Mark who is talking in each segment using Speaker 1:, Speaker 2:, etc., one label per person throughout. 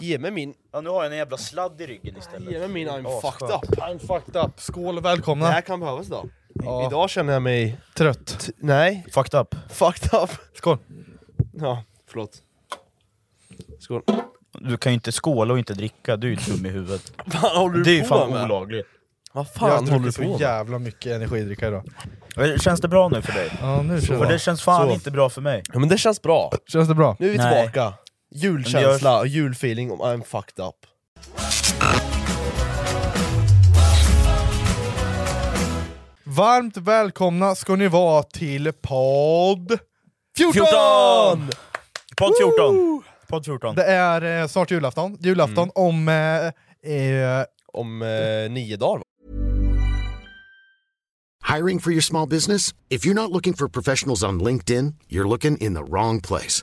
Speaker 1: Ge mig min...
Speaker 2: Ja, nu har jag en jävla sladd i ryggen istället.
Speaker 3: Ge mig min I'm fucked
Speaker 2: Asskönt.
Speaker 3: up. I'm fucked up.
Speaker 1: Skål och
Speaker 3: Det
Speaker 1: välkomna!
Speaker 3: här kan behövas idag.
Speaker 1: Ja.
Speaker 3: Idag känner jag mig...
Speaker 1: Trött.
Speaker 3: T- nej,
Speaker 2: Fucked up.
Speaker 3: fucked up.
Speaker 1: Skål!
Speaker 3: Ja, förlåt. Skål.
Speaker 2: Du kan ju inte skåla och inte dricka, du är ju dum i huvudet.
Speaker 3: Vad håller du
Speaker 2: Det är ju
Speaker 3: på
Speaker 2: fan
Speaker 3: med?
Speaker 2: olagligt.
Speaker 3: Vad fan
Speaker 1: Jag
Speaker 3: håller
Speaker 1: tog
Speaker 3: du på
Speaker 1: så
Speaker 3: med?
Speaker 1: jävla mycket energidricka idag.
Speaker 2: Eh, Känns det bra nu för dig?
Speaker 1: Ja, nu
Speaker 2: För
Speaker 1: känns
Speaker 2: det
Speaker 1: det.
Speaker 2: känns fan
Speaker 3: Så.
Speaker 2: inte bra för mig.
Speaker 3: Ja men det känns bra.
Speaker 1: Känns det bra?
Speaker 3: Nu är vi
Speaker 2: Nej.
Speaker 3: tillbaka.
Speaker 2: Men det
Speaker 3: Julkänsla och julfeeling om I'm fucked up.
Speaker 1: Varmt välkomna ska ni vara till podd 14!
Speaker 2: 14! Podd 14! Podd 14.
Speaker 1: Det är eh, snart julafton, julafton om... Eh, eh,
Speaker 3: Om eh, nio dagar va?
Speaker 4: Hiring for your small business? If you're not looking for professionals on LinkedIn, you're looking in the wrong place.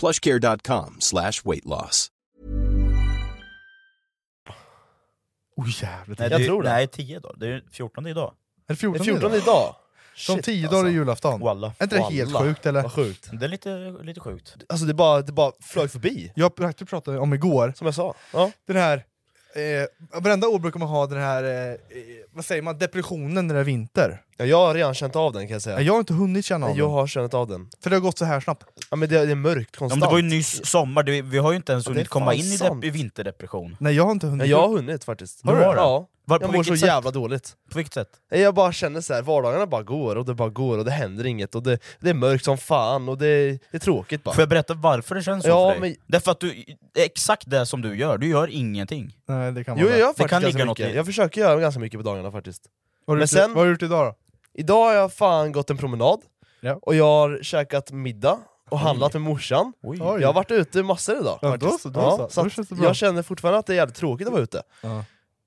Speaker 5: plushcare.com slash weight loss.
Speaker 1: oh jävlar.
Speaker 2: Nej,
Speaker 1: Nej,
Speaker 2: det är,
Speaker 1: är
Speaker 2: ju- Nej, 10 dagar. Det är ju 14 idag.
Speaker 1: det
Speaker 3: Det
Speaker 1: 14,
Speaker 3: är 14
Speaker 1: idag?
Speaker 3: idag. alltså.
Speaker 1: Som 10 dagar är julafton.
Speaker 2: Walla.
Speaker 1: Är inte det helt
Speaker 3: Walla.
Speaker 1: sjukt eller?
Speaker 3: Vad sjukt.
Speaker 2: Det är lite, lite sjukt.
Speaker 3: Alltså det bara, det bara flög förbi.
Speaker 1: Jag pratade- pratade om igår,
Speaker 3: Som jag sa. Ja.
Speaker 1: den här... Eh, varenda år brukar man ha den här, eh, eh, vad säger man, depressionen när det är vinter.
Speaker 3: Ja, jag har redan känt av den kan jag säga.
Speaker 1: Jag har inte hunnit känna av
Speaker 3: Eh, jag
Speaker 1: den,
Speaker 3: har känt av den.
Speaker 1: för det har gått så här snabbt.
Speaker 3: Ja, men det, det är mörkt
Speaker 2: Ja,
Speaker 3: konstant.
Speaker 2: men det var ju nyss sommar, det, vi har ju inte ens
Speaker 3: det är
Speaker 2: hunnit komma
Speaker 3: fan
Speaker 2: in i,
Speaker 3: sant.
Speaker 2: dep- i vinterdepression.
Speaker 1: Nej jag har inte hunnit.
Speaker 3: ja, jag har hunnit faktiskt.
Speaker 2: Har du det?
Speaker 3: Ja.
Speaker 2: Var, på
Speaker 3: Jag mår
Speaker 2: vilket
Speaker 3: så
Speaker 2: sätt?
Speaker 3: jävla dåligt. Eh,
Speaker 2: På vilket sätt?
Speaker 3: Jag bara känner så här, vardagarna bara går och det bara går och det händer inget och det, det är mörkt som fan och det, det är tråkigt bara.
Speaker 2: Får jag berätta varför det känns så
Speaker 3: Ja,
Speaker 2: för dig?
Speaker 3: men-
Speaker 2: Därför att du, det är exakt det som du gör, du gör ingenting.
Speaker 1: Nej det kan man
Speaker 3: Jo, jag
Speaker 1: väl.
Speaker 3: gör faktiskt
Speaker 2: kan
Speaker 3: ganska
Speaker 2: ligga något
Speaker 3: mycket.
Speaker 2: i.
Speaker 3: Jag försöker göra ganska mycket på dagarna faktiskt.
Speaker 1: Vad har du
Speaker 3: Men
Speaker 1: gjort-
Speaker 3: sen-
Speaker 1: Vad har du gjort idag då?
Speaker 3: Idag har jag fan gått en promenad,
Speaker 1: Ja.
Speaker 3: och jag har käkat middag och handlat med morsan.
Speaker 2: Oj.
Speaker 1: Oj.
Speaker 3: Jag har varit ute massor idag.
Speaker 1: Ja,
Speaker 3: faktiskt.
Speaker 1: då så, då
Speaker 3: Ja,
Speaker 1: så.
Speaker 3: så
Speaker 1: Då
Speaker 3: att
Speaker 1: känns det bra.
Speaker 3: jag känner fortfarande att det är jävligt tråkigt att vara ute,
Speaker 1: Ja.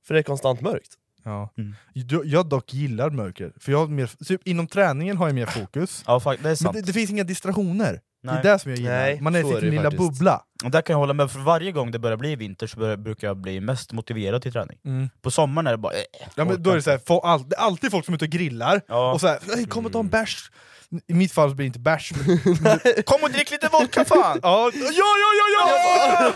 Speaker 3: för det är konstant mörkt.
Speaker 1: Ja.
Speaker 2: Mm.
Speaker 1: Du- Jag dock gillar mörker, för jag har mer, typ, inom träningen har jag mer fokus.
Speaker 2: Ja, fakt- det är
Speaker 1: Men
Speaker 2: sant.
Speaker 1: det, det finns inga distraktioner.
Speaker 2: Nej.
Speaker 1: Det är det som jag gillar.
Speaker 3: Nej,
Speaker 1: man är i
Speaker 3: så
Speaker 1: sin
Speaker 3: är det ju
Speaker 1: lilla
Speaker 3: faktiskt.
Speaker 1: bubbla.
Speaker 2: Och Där kan jag hålla med, för varje gång det börjar bli vinter så börjar, brukar jag bli mest motiverad till träning.
Speaker 1: Mm.
Speaker 2: På sommaren är det bara... eh,
Speaker 1: Ja, men då är det, så här, få all, det är alltid folk som är ute och grillar,
Speaker 2: Ja.
Speaker 1: och så här, "Nej, kom
Speaker 3: Mm.
Speaker 1: och ta en bärs. I mitt fall så blir det inte bärs, men...
Speaker 2: Kom och drick lite vodka fan!
Speaker 1: ja, ja, ja, ja,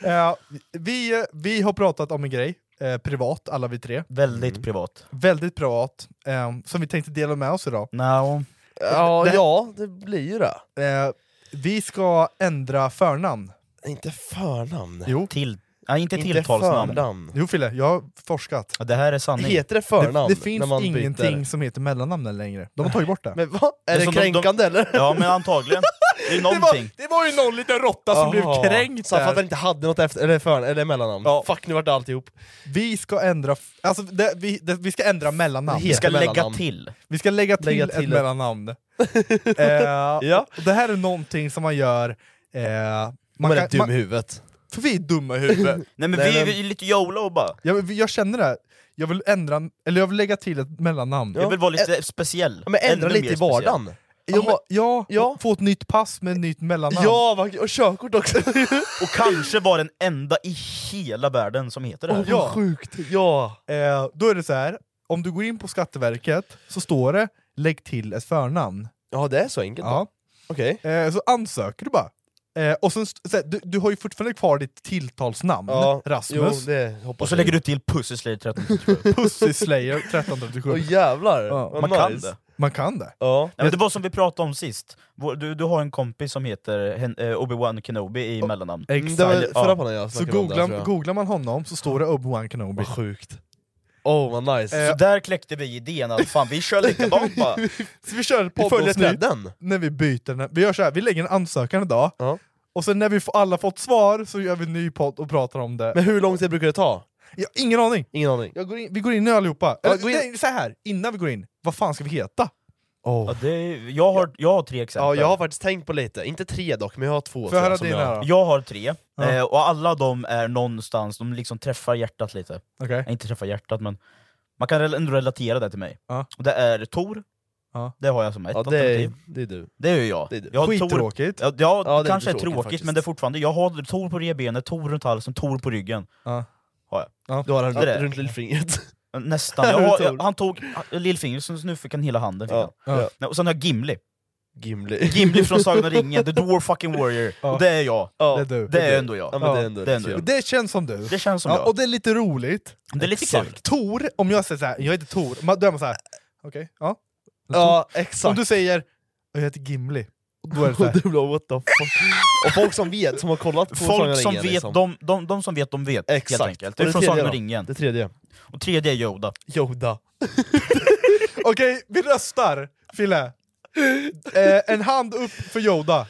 Speaker 1: ja! Ja, vi, eh, vi har pratat om en grej, eh, privat, alla vi tre.
Speaker 2: Väldigt
Speaker 3: Mm.
Speaker 2: privat.
Speaker 1: Väldigt privat, eh, som vi tänkte dela med oss idag.
Speaker 2: No.
Speaker 3: Ja,
Speaker 1: Det-
Speaker 3: ja, det blir ju det.
Speaker 1: Eh, vi ska ändra förnamn.
Speaker 3: Inte förnamn.
Speaker 1: Jo,
Speaker 2: Till, nej, inte
Speaker 3: inte
Speaker 2: tilltalsnamn.
Speaker 3: förnamn.
Speaker 1: jo Fille, jag har forskat.
Speaker 2: Ja, Det här är sanning.
Speaker 3: Heter det
Speaker 1: Det,
Speaker 3: förnamn
Speaker 1: det
Speaker 3: när
Speaker 1: finns
Speaker 3: man
Speaker 1: ingenting
Speaker 3: byter?
Speaker 1: som heter mellannamnen längre. De har tagit bort det.
Speaker 3: Men vad? Är
Speaker 2: är
Speaker 3: det,
Speaker 2: som de- de-
Speaker 3: kränkande eller?
Speaker 2: Ja men antagligen. Det är
Speaker 1: det, var,
Speaker 2: någonting.
Speaker 1: det var ju någon liten råtta som
Speaker 3: Aha.
Speaker 1: blev kränkt
Speaker 3: Så för att
Speaker 1: där.
Speaker 3: han inte hade något efter, eller förnamn, eller mellannamn.
Speaker 1: Ja.
Speaker 3: Fuck, nu vart det alltihop.
Speaker 1: Vi ska ändra, f- alltså det, vi, det, vi ska ändra mellannamn.
Speaker 3: Det
Speaker 2: Vi
Speaker 3: heter
Speaker 2: ska lägga
Speaker 3: mellannamn.
Speaker 2: till.
Speaker 1: Vi ska lägga till,
Speaker 3: Lägga till
Speaker 1: ett
Speaker 3: ett-
Speaker 1: mellannamn. eh,
Speaker 3: Ja.
Speaker 1: och Det här är någonting som man gör eh,
Speaker 3: Man,
Speaker 1: Man
Speaker 3: är
Speaker 1: kan-
Speaker 3: rätt dum
Speaker 1: man-
Speaker 3: i huvudet.
Speaker 1: För vi är dumma i huvudet.
Speaker 2: Nej men
Speaker 3: Nej,
Speaker 2: vi,
Speaker 3: men-
Speaker 2: vi är lite YOLO bara.
Speaker 1: jag, jag känner det, jag vill ändra, eller jag vill lägga till ett mellannamn.
Speaker 2: Jag vill vara lite speciell.
Speaker 3: Ja, men ändra
Speaker 2: Ännu
Speaker 3: lite
Speaker 2: mer
Speaker 3: i vardagen.
Speaker 1: Ja, men, ja,
Speaker 3: Ja.
Speaker 1: och få ett nytt pass med ett nytt mellannamn.
Speaker 3: Ja, vad- och körkort också!
Speaker 2: speciell. Och kanske vara den enda i hela världen som heter det här.
Speaker 1: Ja.
Speaker 3: Sjukt! Ja!
Speaker 1: Eh, då är det så här. om du går in på Skatteverket så står det lägg till ett förnamn.
Speaker 3: Ja, det är så enkelt då.
Speaker 1: Ja.
Speaker 3: Okej.
Speaker 1: Eh, så ansöker du bara. Eh, och sen, st- så här, du, du har ju fortfarande kvar ditt tilltalsnamn,
Speaker 3: Ja,
Speaker 1: Rasmus.
Speaker 3: Jo, det hoppas
Speaker 2: Och så
Speaker 3: jag.
Speaker 2: lägger du till Pussy Slayer 1337.
Speaker 1: Pussy Slayer 1337.
Speaker 3: Åh jävlar!
Speaker 1: Ja,
Speaker 3: vad
Speaker 2: Man kan
Speaker 3: nice.
Speaker 2: det.
Speaker 1: Man kan det.
Speaker 3: Ja.
Speaker 2: Nej, men det var som vi pratade om sist, Vår- du, du har en kompis som heter hen- eh, Obi-Wan Kenobi i mellannamn.
Speaker 3: Mm, Det var
Speaker 2: Exakt.
Speaker 3: förra
Speaker 2: Ja.
Speaker 3: podden jag
Speaker 1: Så
Speaker 3: snackade om det här, tror
Speaker 1: googlar,
Speaker 3: jag.
Speaker 1: googlar man honom så står det Obi-Wan Kenobi.
Speaker 3: Vad sjukt. Oh, vad nice.
Speaker 1: Eh,
Speaker 2: Så där kläckte vi idén att fan vi kör likadant bara.
Speaker 1: Så vi kör ett
Speaker 3: vi följer
Speaker 1: poddavsnitt
Speaker 3: trenden.
Speaker 1: när vi byter, när, vi gör så här, vi lägger en ansökan idag,
Speaker 3: Ja.
Speaker 1: och sen när vi får, alla fått svar så gör vi en ny podd och pratar om det.
Speaker 3: Men hur lång tid brukar det ta?
Speaker 1: Jag, ingen aning!
Speaker 3: Ingen aning.
Speaker 1: Jag går in, vi går in nu allihopa.
Speaker 3: Ja,
Speaker 1: Eller,
Speaker 3: gå in.
Speaker 1: nej, så här, innan vi går in, vad fan ska vi heta?
Speaker 2: Ja, det, är- jag, har, jag har tre exempel.
Speaker 3: Ja, jag har faktiskt tänkt på lite. Inte tre dock, men jag har två.
Speaker 1: Får jag
Speaker 3: tror
Speaker 1: höra
Speaker 3: som
Speaker 1: dina
Speaker 3: jag...
Speaker 1: då?
Speaker 2: Jag har tre, eh, och alla de är någonstans, de liksom träffar hjärtat lite.
Speaker 1: Okej.
Speaker 2: Nej, inte träffar hjärtat men man kan rel- ändå relatera det till mig.
Speaker 1: Ja.
Speaker 2: Och det är Tor,
Speaker 1: Ja.
Speaker 2: det har jag som ett
Speaker 3: Ja, det är,
Speaker 2: alternativ.
Speaker 3: det är du.
Speaker 2: Det är ju jag.
Speaker 3: det är du.
Speaker 2: jag har Tor,
Speaker 1: Skittråkigt.
Speaker 2: Ja, ja,
Speaker 3: det är
Speaker 2: det kanske är
Speaker 3: tråkigt
Speaker 2: tråkigt,
Speaker 3: faktiskt.
Speaker 2: men det är fortfarande, jag har Tor på revbenet, Tor runt halsen, Tor på ryggen.
Speaker 1: Ja.
Speaker 2: Har jag.
Speaker 3: Du har den
Speaker 2: Det där.
Speaker 3: runt lillfingret.
Speaker 2: Nästan. Jag har, jag, han tog lillfingret, så nu fick han hela handen. Fick
Speaker 3: Ja.
Speaker 2: han.
Speaker 3: Ja.
Speaker 2: Nej, Och sen har jag Gimli.
Speaker 3: Gimli.
Speaker 2: Gimli från Sagan om ringen, the dwarf fucking warrior.
Speaker 1: Ja.
Speaker 2: Och det är jag.
Speaker 3: Ja.
Speaker 1: Det är du.
Speaker 2: Det är
Speaker 3: du.
Speaker 2: ändå jag.
Speaker 3: Ja, men det är ändå liksom
Speaker 2: det är
Speaker 3: rätt
Speaker 2: ändå jag.
Speaker 3: kul.
Speaker 1: Det känns som du.
Speaker 2: Det känns som
Speaker 1: ja,
Speaker 2: jag.
Speaker 1: och det är lite roligt.
Speaker 2: Det är lite
Speaker 3: Exakt.
Speaker 2: kul.
Speaker 1: Tor, om jag säger så här, jag heter Tor, man- då är man så här. okej, ja.
Speaker 3: Ja,
Speaker 1: Om
Speaker 3: exakt.
Speaker 1: du säger, jag heter Gimli, då är det så
Speaker 3: Och
Speaker 1: här.
Speaker 3: du blir what the fuck. Och folk som vet, som har kollat på Sagan om
Speaker 2: Folk som
Speaker 3: ringen,
Speaker 2: vet,
Speaker 3: liksom.
Speaker 2: de, de, de som vet, de vet.
Speaker 3: Exakt.
Speaker 2: Helt enkelt.
Speaker 3: Och
Speaker 2: Det är
Speaker 3: det
Speaker 2: från
Speaker 3: tredje
Speaker 2: Sagan om
Speaker 3: då?
Speaker 2: ringen.
Speaker 3: Det tredje.
Speaker 2: Och tredje är Yoda.
Speaker 3: Yoda.
Speaker 1: Okej, vi röstar, Fille. Eh, en hand upp för Yoda.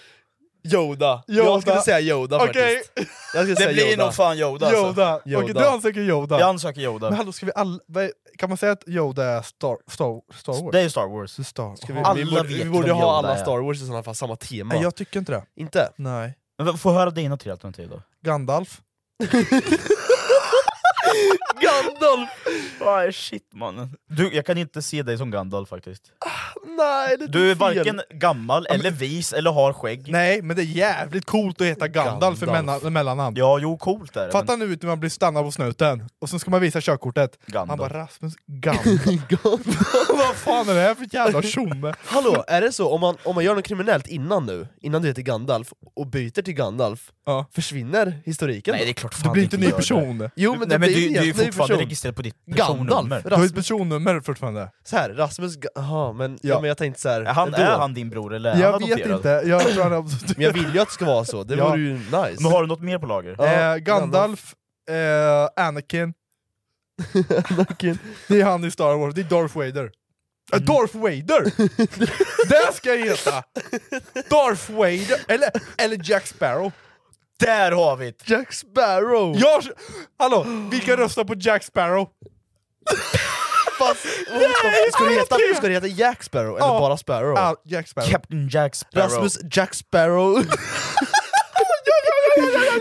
Speaker 3: Yoda.
Speaker 1: Yoda.
Speaker 3: Jag skulle säga Yoda
Speaker 1: Okej,
Speaker 3: faktiskt. Jag skulle
Speaker 2: Det
Speaker 3: säga
Speaker 2: blir
Speaker 3: Yoda.
Speaker 2: nog fan Yoda, alltså.
Speaker 1: Yoda. Okej,
Speaker 3: Yoda.
Speaker 1: du ansöker Yoda.
Speaker 2: Jag ansöker Yoda.
Speaker 1: Men hallå, ska vi all... vad är- Kan man säga att Yoda är Star, Star, Star Wars?
Speaker 2: Det är ju Star Wars.
Speaker 1: Star. Ska
Speaker 3: Vi,
Speaker 1: vi...
Speaker 2: Alla
Speaker 3: vi borde, vi
Speaker 2: vet
Speaker 3: borde
Speaker 2: vem
Speaker 3: ha
Speaker 2: Yoda
Speaker 3: alla
Speaker 2: är.
Speaker 3: Star Wars i sådana fall samma tema.
Speaker 1: Nej, jag tycker inte det.
Speaker 3: Inte?
Speaker 1: Nej.
Speaker 2: Men Få höra dina tre alternativ då.
Speaker 1: Gandalf.
Speaker 3: Gandalf!
Speaker 2: Aj, shit mannen. Du, jag kan inte se dig som Gandalf faktiskt.
Speaker 3: Nej, det är
Speaker 2: Du är
Speaker 3: fel.
Speaker 2: varken gammal, eller vis, eller har skägg.
Speaker 1: Nej, men det är jävligt coolt att heta Gandalf, för
Speaker 3: Gandalf.
Speaker 1: mellan- mellanamn.
Speaker 2: Ja, jo coolt är det.
Speaker 1: Fatta nu ut när man blir stannad på snuten, och sen ska man visa körkortet.
Speaker 2: Gandalf.
Speaker 1: Han bara Rasmus Gandalf. Vad fan är det här för jävla tjomme?
Speaker 3: Hallå, är det så om man, om man gör något kriminellt innan nu, innan du heter Gandalf, och byter till Gandalf,
Speaker 1: Ja.
Speaker 3: försvinner historiken?
Speaker 2: Nej,
Speaker 3: då?
Speaker 2: det är klart fan
Speaker 1: Du blir inte
Speaker 2: gör
Speaker 1: ny
Speaker 2: det.
Speaker 1: person.
Speaker 3: Jo
Speaker 2: Du,
Speaker 3: men
Speaker 2: nej,
Speaker 3: det
Speaker 2: men
Speaker 3: blir
Speaker 2: du,
Speaker 3: en
Speaker 2: du är ju
Speaker 3: helt ny
Speaker 2: fortfarande
Speaker 3: person.
Speaker 2: registrerad på ditt
Speaker 3: Gandalf,
Speaker 2: personnummer.
Speaker 1: Du har ett
Speaker 3: Rasmus,
Speaker 1: personnummer fortfarande.
Speaker 3: så här, Rasmus, Ga- jaha men, ja.
Speaker 1: Ja.
Speaker 3: men jag tänkte så här,
Speaker 2: Han,
Speaker 3: ändå.
Speaker 2: är han din bror eller är han
Speaker 1: Jag vet
Speaker 2: adopterad?
Speaker 1: inte, jag tror han är absolut...
Speaker 3: Men jag vill ju att det ska vara så, det
Speaker 1: Ja.
Speaker 3: vore ju nice.
Speaker 2: Men har du något mer på lager?
Speaker 3: Ja,
Speaker 1: eh, Gandalf, eh, Anakin,
Speaker 3: Anakin. Mm.
Speaker 1: det är han i Star Wars, det är Darth Vader. Eh, Darth Vader! det ska jag heta! Darth Vader, eller, eller Jack Sparrow.
Speaker 2: Där har vi det!
Speaker 3: Jack Sparrow!
Speaker 1: Jag, hallå, vilka röstar på Jack Sparrow?
Speaker 3: Fast, vad fan, ska, du heta, ska du heta Jack Sparrow eller
Speaker 1: Ja.
Speaker 3: bara Sparrow?
Speaker 1: Ah, Jack Sparrow.
Speaker 2: Captain Jack Sparrow.
Speaker 3: Rasmus Jack Sparrow!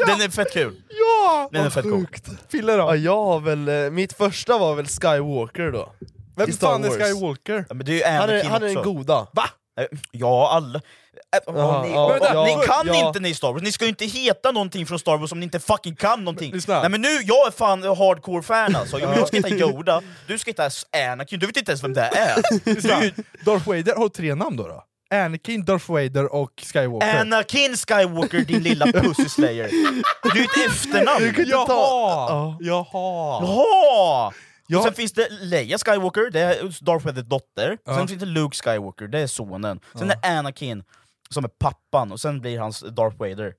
Speaker 2: Den är fett kul.
Speaker 1: Ja!
Speaker 2: Den är fett cool.
Speaker 1: Fille
Speaker 3: Ja,
Speaker 1: då?
Speaker 3: jag har väl, eh, mitt första var väl Skywalker då.
Speaker 1: Vem
Speaker 3: i Star
Speaker 1: fan är
Speaker 3: Wars.
Speaker 1: Skywalker?
Speaker 2: Ja, men det är ju Anakin
Speaker 3: Han är, han är
Speaker 2: också.
Speaker 3: den goda.
Speaker 2: Va? Eh, Ja, alla... Eh,
Speaker 3: Ja,
Speaker 2: ni,
Speaker 3: ja,
Speaker 2: vänta,
Speaker 3: ja,
Speaker 2: ni kan
Speaker 3: ja.
Speaker 2: inte ni Star Wars, ni ska ju inte heta någonting från Star Wars om ni inte fucking kan någonting!
Speaker 1: Men lyssna.
Speaker 2: Nej men nu, jag är fan hardcore-fan alltså, jag, jag ska heta Yoda, du ska heta Anakin, du vet inte ens vem det är!
Speaker 1: Lyssna, Darth Vader har tre namn då? då? Anakin, Darth Vader och Skywalker.
Speaker 2: Anakin Skywalker din lilla pussy slayer! Du är ett efternamn!
Speaker 1: Jaha!
Speaker 3: ta-
Speaker 1: Jaha!
Speaker 2: Jaha!
Speaker 1: Ja.
Speaker 2: Och sen finns det Leia Skywalker, det är Darth Vaders dotter, sen finns det Luke Skywalker, det är sonen, sen är det Anakin som är pappan, och sen blir hans Darth Vader.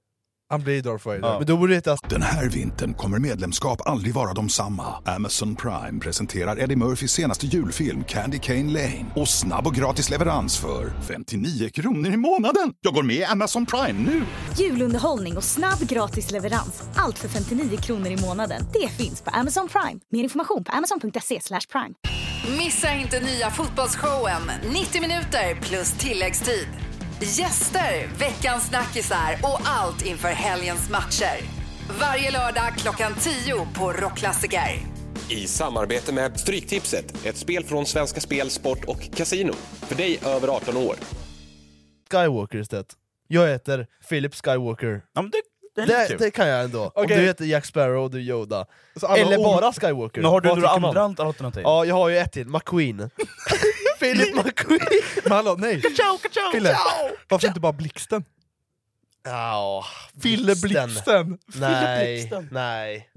Speaker 1: Han blir Darth Vader.
Speaker 3: Men då borde det heta
Speaker 6: Den här vintern kommer medlemskap aldrig vara de samma. Amazon Prime presenterar Eddie Murphys senaste julfilm Candy Cane Lane. Och snabb och gratis leverans för 59 kronor i månaden. Jag går med i Amazon Prime nu!
Speaker 7: Julunderhållning och snabb gratis leverans. Allt för 59 kronor i månaden. Det finns på Amazon Prime. Mer information på amazon.se slash prime.
Speaker 8: Missa inte nya fotbollsshowen 90 minuter plus tilläggstid. Gäster, veckans snackisar och allt inför helgens matcher. Varje lördag klockan 10 på Rockklassiker.
Speaker 9: I samarbete med Stryktipset, ett spel från Svenska Spel, Sport och Casino. För dig över 18 år.
Speaker 3: Skywalker istället. Jag heter Philip Skywalker.
Speaker 2: Ja, men det, det är lite
Speaker 3: Det,
Speaker 2: kul.
Speaker 3: det kan jag ändå. Om
Speaker 1: Okej.
Speaker 3: du heter Jack Sparrow och du är Yoda.
Speaker 1: Så alla
Speaker 3: Eller
Speaker 1: ord-
Speaker 3: bara Skywalker.
Speaker 2: Nu har du
Speaker 3: Vad
Speaker 2: några
Speaker 3: tycker man?
Speaker 2: andra alternativ.
Speaker 3: Ja, jag har ju ett till. McQueen. Philip McQueen.
Speaker 1: Men hallå, nej!
Speaker 2: Ciao, ciao,
Speaker 1: Fille,
Speaker 2: ciao.
Speaker 1: varför inte bara Blixten?
Speaker 3: Ja,
Speaker 1: Fille Blixten!
Speaker 3: Nej,
Speaker 2: Blixten.
Speaker 3: nej.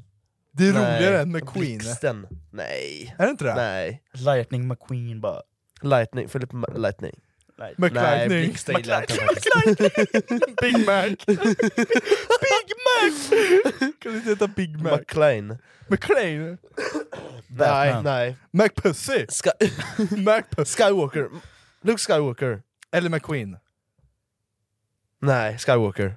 Speaker 1: Det är
Speaker 3: nej.
Speaker 1: roligare än McQueen.
Speaker 3: Blixten. Nej.
Speaker 1: Är det inte det?
Speaker 3: Nej.
Speaker 2: Lightning McQueen bara.
Speaker 3: Lightning. Philip Ma- Lightning. Nej,
Speaker 1: McLightning.
Speaker 3: Blixten gillar jag inte.
Speaker 1: Big Mac. Big Mac! kan du inte heta Big Mac?
Speaker 3: McLean.
Speaker 1: McLean?
Speaker 3: Nej, nej.
Speaker 1: McPussy?
Speaker 3: Sky
Speaker 1: McPussy?
Speaker 3: Skywalker. Luke Skywalker.
Speaker 1: Eller McQueen?
Speaker 3: Nej, Skywalker.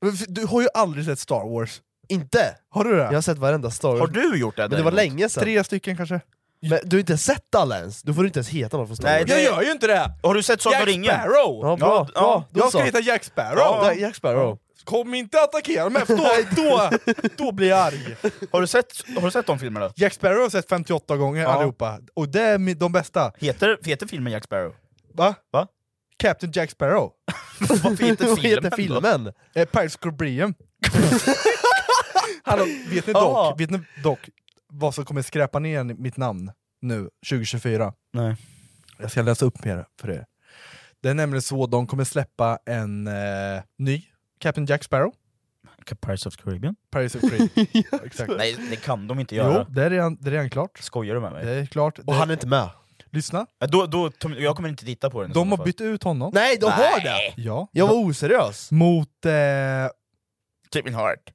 Speaker 1: Men f- Du har ju aldrig sett Star Wars.
Speaker 3: Inte!
Speaker 1: Har du det?
Speaker 3: Jag har sett varenda story.
Speaker 2: Har du gjort det?
Speaker 3: Men det var länge sedan.
Speaker 1: Tre stycken kanske?
Speaker 3: Men du har inte sett alla ens. Då får du inte ens heta någon från Star
Speaker 2: Nej,
Speaker 3: Wars.
Speaker 2: det-
Speaker 1: ju inte det!
Speaker 2: Har du sett Sagan om
Speaker 1: Jack
Speaker 2: ringen?
Speaker 1: Sparrow!
Speaker 3: Ja, bra.
Speaker 2: Ja,
Speaker 3: bra.
Speaker 2: ja.
Speaker 3: Då
Speaker 1: jag ska
Speaker 3: så.
Speaker 1: heta Jack
Speaker 3: Ja,
Speaker 1: Sparrow!
Speaker 3: där- Jack Sparrow.
Speaker 1: Kom inte attackera mig, för då, då, då blir jag arg!
Speaker 2: Har du sett, har du sett de filmerna?
Speaker 1: Jack Sparrow har jag sett 58 gånger allihopa, och det är mi- de bästa.
Speaker 2: Heter, heter filmen Jack Sparrow?
Speaker 1: Va?
Speaker 2: Va?
Speaker 1: Captain Jack Sparrow.
Speaker 2: Varför heter
Speaker 3: Vad
Speaker 2: filmen?
Speaker 3: heter filmen?
Speaker 1: Eh, Pirates Caribbean. Hallå, vet ni,
Speaker 3: Aha.
Speaker 1: dock, vet ni dock vad som kommer skräpa ner mitt namn nu 2024?
Speaker 2: Nej.
Speaker 1: Jag ska läsa upp mer för er. Det är nämligen så de kommer släppa en eh, ny Captain Jack Sparrow.
Speaker 2: Pirates of Caribbean?
Speaker 1: Paris of Creed. Exakt.
Speaker 2: Nej, det kan de inte
Speaker 1: Jo,
Speaker 2: göra.
Speaker 1: det är, redan, det är redan klart.
Speaker 2: Skojar du med mig?
Speaker 1: Det är klart.
Speaker 3: Och
Speaker 1: det,
Speaker 3: han är inte med.
Speaker 1: lyssna,
Speaker 2: Ja, Då, då, jag kommer inte titta på den. i
Speaker 1: de
Speaker 2: så
Speaker 1: har
Speaker 2: fall.
Speaker 1: bytt ut honom.
Speaker 3: Nej, de har det!
Speaker 1: Ja.
Speaker 3: Jag var oseriös.
Speaker 1: Mot... Eh,
Speaker 2: Kevin Hart.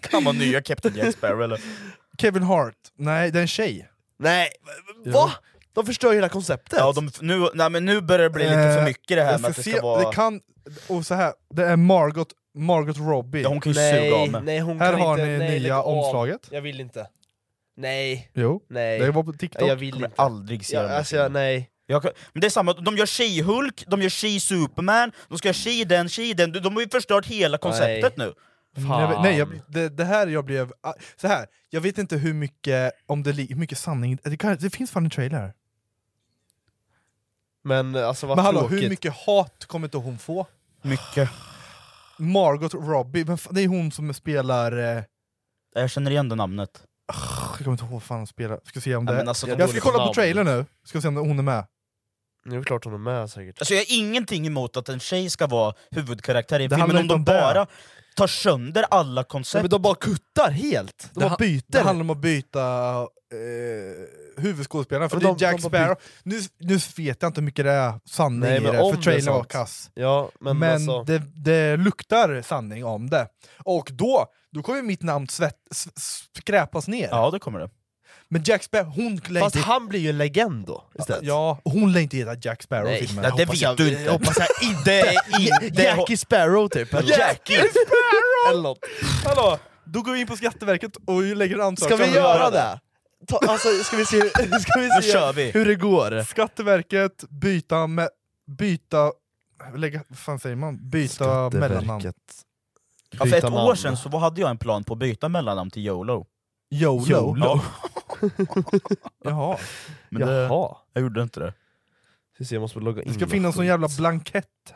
Speaker 2: kan vara nya Captain Jack Sparrow eller?
Speaker 1: Kevin Hart. Nej, det är en tjej.
Speaker 3: Nej, va? De förstör hela konceptet.
Speaker 2: Ja, de, nu, nej, men nu börjar det bli lite för
Speaker 1: Eh,
Speaker 2: mycket det här med
Speaker 1: jag ska
Speaker 2: att det
Speaker 1: se-
Speaker 2: ska vara...
Speaker 1: Det kan... Och så här, det är Margot, Margot Robbie.
Speaker 2: Ja, hon kan ju suga av
Speaker 3: nej,
Speaker 2: mig.
Speaker 3: nej, hon
Speaker 1: Här
Speaker 3: kan
Speaker 1: har
Speaker 3: inte,
Speaker 1: ni
Speaker 3: nej,
Speaker 1: nya
Speaker 3: lägg av.
Speaker 1: omslaget.
Speaker 3: Jag vill inte. Nej,
Speaker 1: Jo,
Speaker 3: nej.
Speaker 1: det var på TikTok.
Speaker 3: jag vill
Speaker 2: kommer
Speaker 3: inte.
Speaker 2: aldrig se
Speaker 3: Jag,
Speaker 2: den här
Speaker 3: alltså, jag,
Speaker 2: filmen.
Speaker 3: nej.
Speaker 2: jag kan, Men det är samma, de gör She-Hulk, de gör She-Superman, de ska göra She-den, She-den, de har ju förstört hela konceptet nu!
Speaker 1: Nej, jag,
Speaker 3: Fan.
Speaker 1: nej jag, det, det här jag blev... ah, Så här, jag vet inte hur mycket, om det, li- hur mycket sanning... Det, kan, det finns fan en trailer. här.
Speaker 3: Men alltså vad
Speaker 1: Men hallå,
Speaker 3: tråkigt.
Speaker 1: hur mycket hat kommer inte hon få?
Speaker 2: Mycket.
Speaker 1: Margot Robbie, vem fan, det är hon som spelar... Eh,
Speaker 2: Jag känner igen det namnet.
Speaker 1: jag kommer inte ihåg vad fan hon spelar. Ska se om
Speaker 2: Ja,
Speaker 1: det...
Speaker 2: men alltså, de
Speaker 1: jag ska
Speaker 2: dåliga
Speaker 1: kolla på
Speaker 2: namn.
Speaker 1: trailern nu, ska se om hon är med.
Speaker 3: Nu är det klart hon är med säkert.
Speaker 2: Alltså jag har ingenting emot att en tjej ska vara huvudkaraktär i en
Speaker 1: Det
Speaker 2: film, men
Speaker 1: handlar
Speaker 2: om
Speaker 1: inte
Speaker 2: de
Speaker 1: om det.
Speaker 2: bara tar sönder alla koncept...
Speaker 3: men de bara kuttar helt! De
Speaker 1: det
Speaker 3: bara
Speaker 1: han-
Speaker 3: byter!
Speaker 1: Det handlar om att byta eh, huvudskådespelaren, för
Speaker 3: Men
Speaker 1: det är
Speaker 3: de-
Speaker 1: Jack
Speaker 3: de bara
Speaker 1: Sparrow. Nu, nu vet jag inte hur mycket det är sanning
Speaker 3: Nej,
Speaker 1: i
Speaker 3: men
Speaker 1: det,
Speaker 3: om det
Speaker 1: för
Speaker 3: är
Speaker 1: trailern var
Speaker 3: sant.
Speaker 1: kass.
Speaker 3: Ja, men,
Speaker 1: Men,
Speaker 3: alltså...
Speaker 1: det, det luktar sanning om det. Och då, då kommer mitt namn svett, s- s- skräpas ner.
Speaker 2: Ja det kommer det.
Speaker 1: Men Jack Sparrow, hon lär
Speaker 3: Fast
Speaker 1: inte...
Speaker 3: han blir ju en legend då, istället.
Speaker 1: Ja, hon lär inte heta Jack Sparrow i
Speaker 3: Nej,
Speaker 1: filmen.
Speaker 2: Ja, det
Speaker 3: hoppas
Speaker 2: vet
Speaker 3: jag-
Speaker 2: du inte!
Speaker 3: hoppas
Speaker 2: jag inte! Det,
Speaker 3: Jackie Sparrow typ, eller nåt.
Speaker 2: Jackie!
Speaker 3: eller något.
Speaker 1: Hallå! Då går vi in på Skatteverket och lägger en
Speaker 3: Ska
Speaker 1: ansökan.
Speaker 3: vi göra det? Ta, alltså, ska vi se, ska vi
Speaker 2: Nu
Speaker 3: se
Speaker 2: kör vi!
Speaker 3: hur det går?
Speaker 1: Skatteverket, byta... Med, byta lägga, vad fan säger man? Byta mellannamn.
Speaker 2: Ja, för ett
Speaker 3: Byta
Speaker 2: år
Speaker 3: namn.
Speaker 2: sedan så hade jag en plan på att byta mellannamn till YOLO.
Speaker 1: YOLO.
Speaker 2: Ja,
Speaker 1: Jaha.
Speaker 2: men det,
Speaker 3: Jaha.
Speaker 2: jag gjorde inte det.
Speaker 3: Ska se, jag måste bara logga in.
Speaker 1: Det ska finnas någon jävla blankett.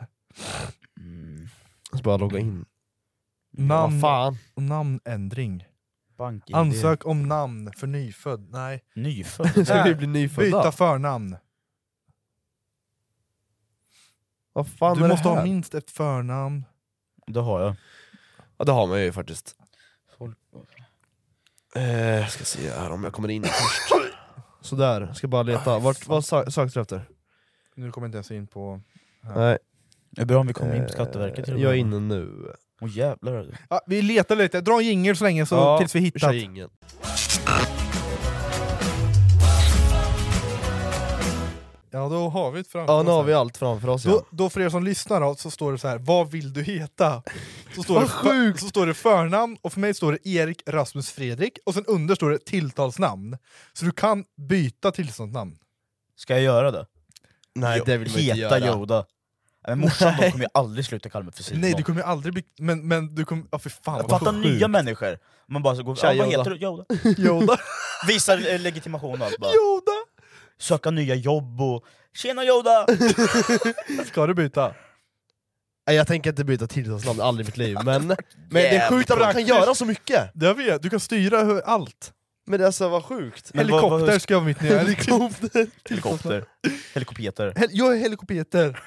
Speaker 2: Mm,
Speaker 3: Jag ska bara logga in. Vad
Speaker 1: Namn,
Speaker 3: fan.
Speaker 1: namnändring.
Speaker 2: Bank-ID.
Speaker 1: Ansök om namn för nyfödd. Nej.
Speaker 2: Nyfödd.
Speaker 3: Ska vi
Speaker 1: Här,
Speaker 3: bli
Speaker 1: Byta
Speaker 3: nyfödda?
Speaker 1: förnamn.
Speaker 3: Vad fan
Speaker 1: Du
Speaker 3: är
Speaker 1: måste
Speaker 3: det här?
Speaker 1: ha minst ett förnamn.
Speaker 2: Det har jag.
Speaker 3: Ja det har man ju faktiskt. Eh, jag ska se här om jag kommer in först. Ah, Sådär, ska bara leta. Vart, vad sö- sökte du efter?
Speaker 1: Nu kommer jag inte ens in på...
Speaker 3: Nej,
Speaker 2: Det är bra om vi kommer in på Skatteverket.
Speaker 3: eh, jag är inne nu.
Speaker 2: Åh jävlar.
Speaker 1: Ja, vi letar lite, dra en jingel så länge så, tills vi hittar.
Speaker 3: kör ingen.
Speaker 1: Ja, då har vi ett framför
Speaker 3: Ja
Speaker 1: oss
Speaker 3: nu har
Speaker 1: här.
Speaker 3: vi allt framför oss ja.
Speaker 1: Då, då för er som lyssnar då, så står det så här. vad vill du heta? Så står,
Speaker 3: Vad
Speaker 1: det,
Speaker 3: sjukt!
Speaker 1: så står det förnamn, och för mig står det Erik Rasmus Fredrik, och sen under står det tilltalsnamn. Så du kan byta tillståndsnamn.
Speaker 2: Ska jag göra det?
Speaker 3: Nej,
Speaker 2: Jo-
Speaker 3: det vill man inte
Speaker 2: heta
Speaker 3: göra.
Speaker 2: Yoda. Men morsan
Speaker 3: Nej.
Speaker 2: då kommer ju aldrig sluta kalla mig för Simon.
Speaker 1: Nej, du kommer ju aldrig bli... Men, men du kommer... Ja, för fan vad
Speaker 2: Fatta
Speaker 1: sjukt.
Speaker 2: nya människor! Man bara så går,
Speaker 1: Tja,
Speaker 2: ja, vad
Speaker 1: Yoda."
Speaker 2: heter du? Yoda?
Speaker 1: Yoda.
Speaker 2: Visar eh, legitimation och allt bara. Yoda! Söka nya jobb och “Tjena Yoda!”
Speaker 3: Ska du byta? Nej, jag tänker inte byta tillståndsnamn, aldrig i mitt liv. Men, men det är
Speaker 1: Jävligt
Speaker 3: sjukt att man kan
Speaker 1: praktiskt.
Speaker 3: göra så mycket.
Speaker 1: Jag vet, du kan styra hur- allt.
Speaker 3: Men det är alltså, vad sjukt.
Speaker 2: Men vad-
Speaker 1: Helikopter
Speaker 2: vad-
Speaker 1: ska vara mitt nya...
Speaker 3: Helikopter.
Speaker 2: Helikopter. Helikopter.
Speaker 1: Hel jag är helikopeter.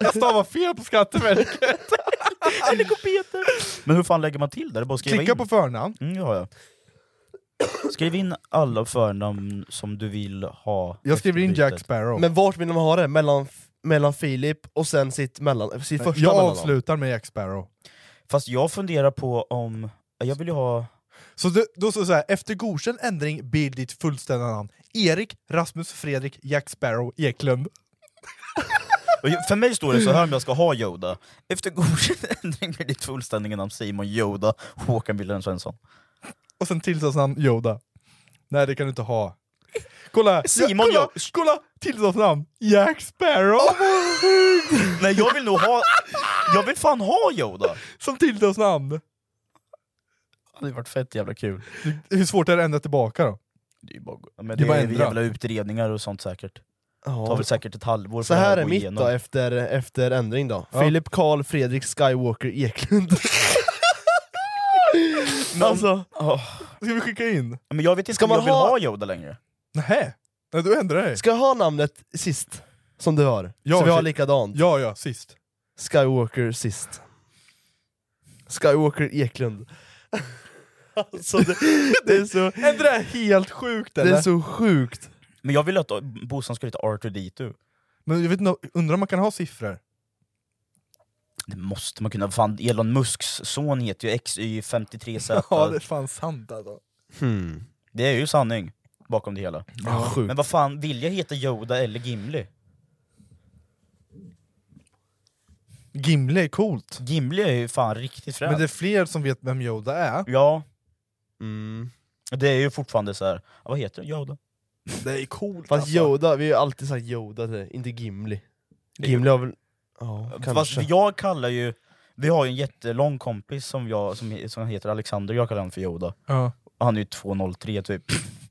Speaker 1: jag stavar fel på Skatteverket.
Speaker 2: Helikopter. Men hur fan lägger man till det? det? är Bara att skriva
Speaker 1: Klicka
Speaker 2: in.
Speaker 1: på förnamn.
Speaker 2: Mm, det har jag. Skriv in alla förnamn som du vill ha.
Speaker 1: Jag skriver in
Speaker 2: efter
Speaker 1: Jack
Speaker 2: bytet.
Speaker 1: Sparrow.
Speaker 3: Men vart vill man ha det? Mellan, mellan Filip och sen sitt, mellan, sitt första
Speaker 1: jag
Speaker 3: mellannamn?
Speaker 1: avslutar med Jack Sparrow.
Speaker 2: Fast jag funderar på om... Jag vill ju ha...
Speaker 1: Så du, då står det så här, efter godkänd ändring blir ditt fullständiga namn Erik Rasmus Fredrik Jack Sparrow Eklund.
Speaker 2: Och ju- För mig står det så här om jag ska ha Yoda. Efter godkänd ändring blir ditt fullständiga namn Simon Yoda Håkan Wilhelm Svensson.
Speaker 1: Och sen tillsatsnamn Yoda. Nej det kan du inte ha. Kolla!
Speaker 2: Simon
Speaker 1: kolla,
Speaker 2: Yoda.
Speaker 1: kolla! Tillsatsnamn! Jack Sparrow!
Speaker 2: Nej jag vill nog ha... Jag vill fan ha Yoda!
Speaker 1: Som tillsatsnamn!
Speaker 2: Det hade varit fett jävla kul.
Speaker 1: Hur svårt är det att ändra tillbaka då?
Speaker 2: Det är ju bara, men
Speaker 1: Det
Speaker 2: det
Speaker 1: är bara
Speaker 2: är
Speaker 1: ändra.
Speaker 2: jävla utredningar och sånt säkert. Det tar
Speaker 3: Ja.
Speaker 2: väl säkert ett halvår
Speaker 3: Så
Speaker 2: det
Speaker 3: här
Speaker 2: att
Speaker 3: är
Speaker 2: gå
Speaker 3: mitt
Speaker 2: igenom.
Speaker 3: då, efter, efter ändring då. Filip Karl Fredrik Skywalker Eklund.
Speaker 2: Men, om-
Speaker 3: alltså,
Speaker 2: Åh,
Speaker 1: Ska vi skicka in?
Speaker 2: men jag vet inte
Speaker 3: Ska
Speaker 2: om jag
Speaker 3: man
Speaker 2: vill
Speaker 3: ha-
Speaker 2: ha Yoda längre.
Speaker 1: Nej. Nej du ändrar dig.
Speaker 3: ska jag ha namnet sist? Som du har?
Speaker 1: Ja,
Speaker 3: så vi har
Speaker 1: shit.
Speaker 3: likadant?
Speaker 1: Ja ja, sist.
Speaker 3: Skywalker sist. Skywalker Eklund. alltså det, det är så...
Speaker 1: Är inte det här helt sjukt
Speaker 3: Det
Speaker 1: eller?
Speaker 3: är så sjukt.
Speaker 2: Men jag vill att Bosan ska heta Arthur D2.
Speaker 1: Men jag vet inte, undrar om man kan ha siffror?
Speaker 2: Det måste man kunna, fan Elon Musks son heter ju XY53Z.
Speaker 1: Ja det är fan sant alltså.
Speaker 3: Hmm.
Speaker 2: Det är ju sanning bakom det hela.
Speaker 3: Ja, sjukt.
Speaker 2: Men vad fan, vill jag heta Yoda eller Gimli?
Speaker 1: Gimli är coolt.
Speaker 2: Gimli är ju fan riktigt
Speaker 1: Men
Speaker 2: fränt.
Speaker 1: det är fler som vet vem Yoda är.
Speaker 2: Ja,
Speaker 3: Mm.
Speaker 2: det är ju fortfarande så här. Ja, vad heter det? Yoda?
Speaker 1: Det är coolt
Speaker 3: Fast Yoda, vi har ju alltid sagt Yoda till dig, inte Gimli. Gimli har väl... Ja,
Speaker 2: Fast
Speaker 3: kanske.
Speaker 2: jag kallar ju, vi har ju en jättelång kompis som, jag, som, som heter Alexander, jag kallar honom för Yoda.
Speaker 1: Ja.
Speaker 2: Och Han är ju 203 typ.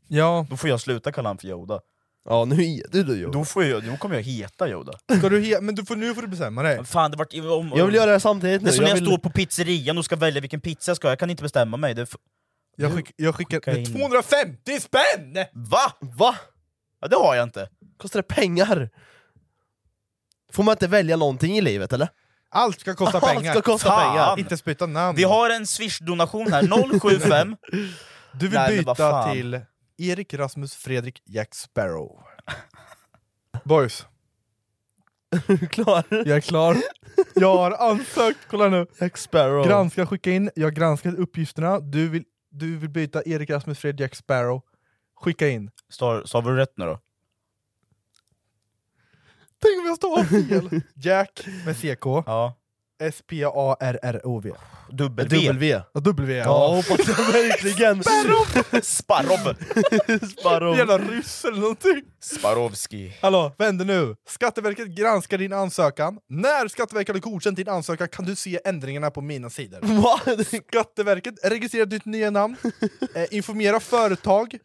Speaker 1: ja,
Speaker 2: Då får jag sluta kalla honom för Yoda.
Speaker 3: Ja, nu är du då Yoda.
Speaker 2: Då, får jag, då kommer jag heta Yoda.
Speaker 1: ska du he- men du får, nu får du bestämma dig.
Speaker 2: Fan, det vart, om,
Speaker 3: Jag vill göra det här samtidigt nu.
Speaker 2: Det är som när jag
Speaker 3: vill...
Speaker 2: står på pizzerian och ska välja vilken pizza jag ska ha, jag kan inte bestämma mig. Det är f-
Speaker 1: Jag, skick, jag skickar
Speaker 2: Skicka in.
Speaker 1: 250 spänn!
Speaker 2: Va?
Speaker 3: Va?
Speaker 2: Ja, det har jag inte.
Speaker 3: Kostar det pengar? Får man inte välja någonting i livet eller?
Speaker 1: Allt ska kosta
Speaker 3: Allt
Speaker 1: pengar.
Speaker 3: ska kosta
Speaker 2: Fan.
Speaker 3: pengar!
Speaker 1: Inte spytta namn.
Speaker 3: Mm.
Speaker 2: Vi har en swish-donation här, 075
Speaker 1: Du vill
Speaker 2: Nej, men vad
Speaker 1: byta
Speaker 2: fan.
Speaker 1: till Erik Rasmus Fredrik Jack Sparrow. Boys,
Speaker 3: Är du klar?
Speaker 1: jag är klar. Jag har ansökt, kolla nu.
Speaker 3: Jack Sparrow.
Speaker 1: Granska, skicka in. Jag har granskat uppgifterna. Du vill, du vill byta Erik Rasmus Fredrik Jack Sparrow. Skicka in.
Speaker 2: Står- Sa vi rätt nu då?
Speaker 1: Tänk om jag stavar fel! Jack med CK.
Speaker 2: Ja.
Speaker 1: S-P-A-R-R-O-V.
Speaker 2: Dubbel V.
Speaker 3: W.
Speaker 1: Ja, W.
Speaker 3: Ja, hoppas jag verkligen!
Speaker 2: Sparov!
Speaker 3: Sparrow!
Speaker 1: Jävla ryss eller någonting.
Speaker 2: Sparovski.
Speaker 1: Hallå, vad händer nu? Skatteverket granskar din ansökan. När Skatteverket har godkänt din ansökan kan du se ändringarna på mina sidor.
Speaker 3: Va?
Speaker 1: Skatteverket registrerar ditt nya namn, eh, informera företag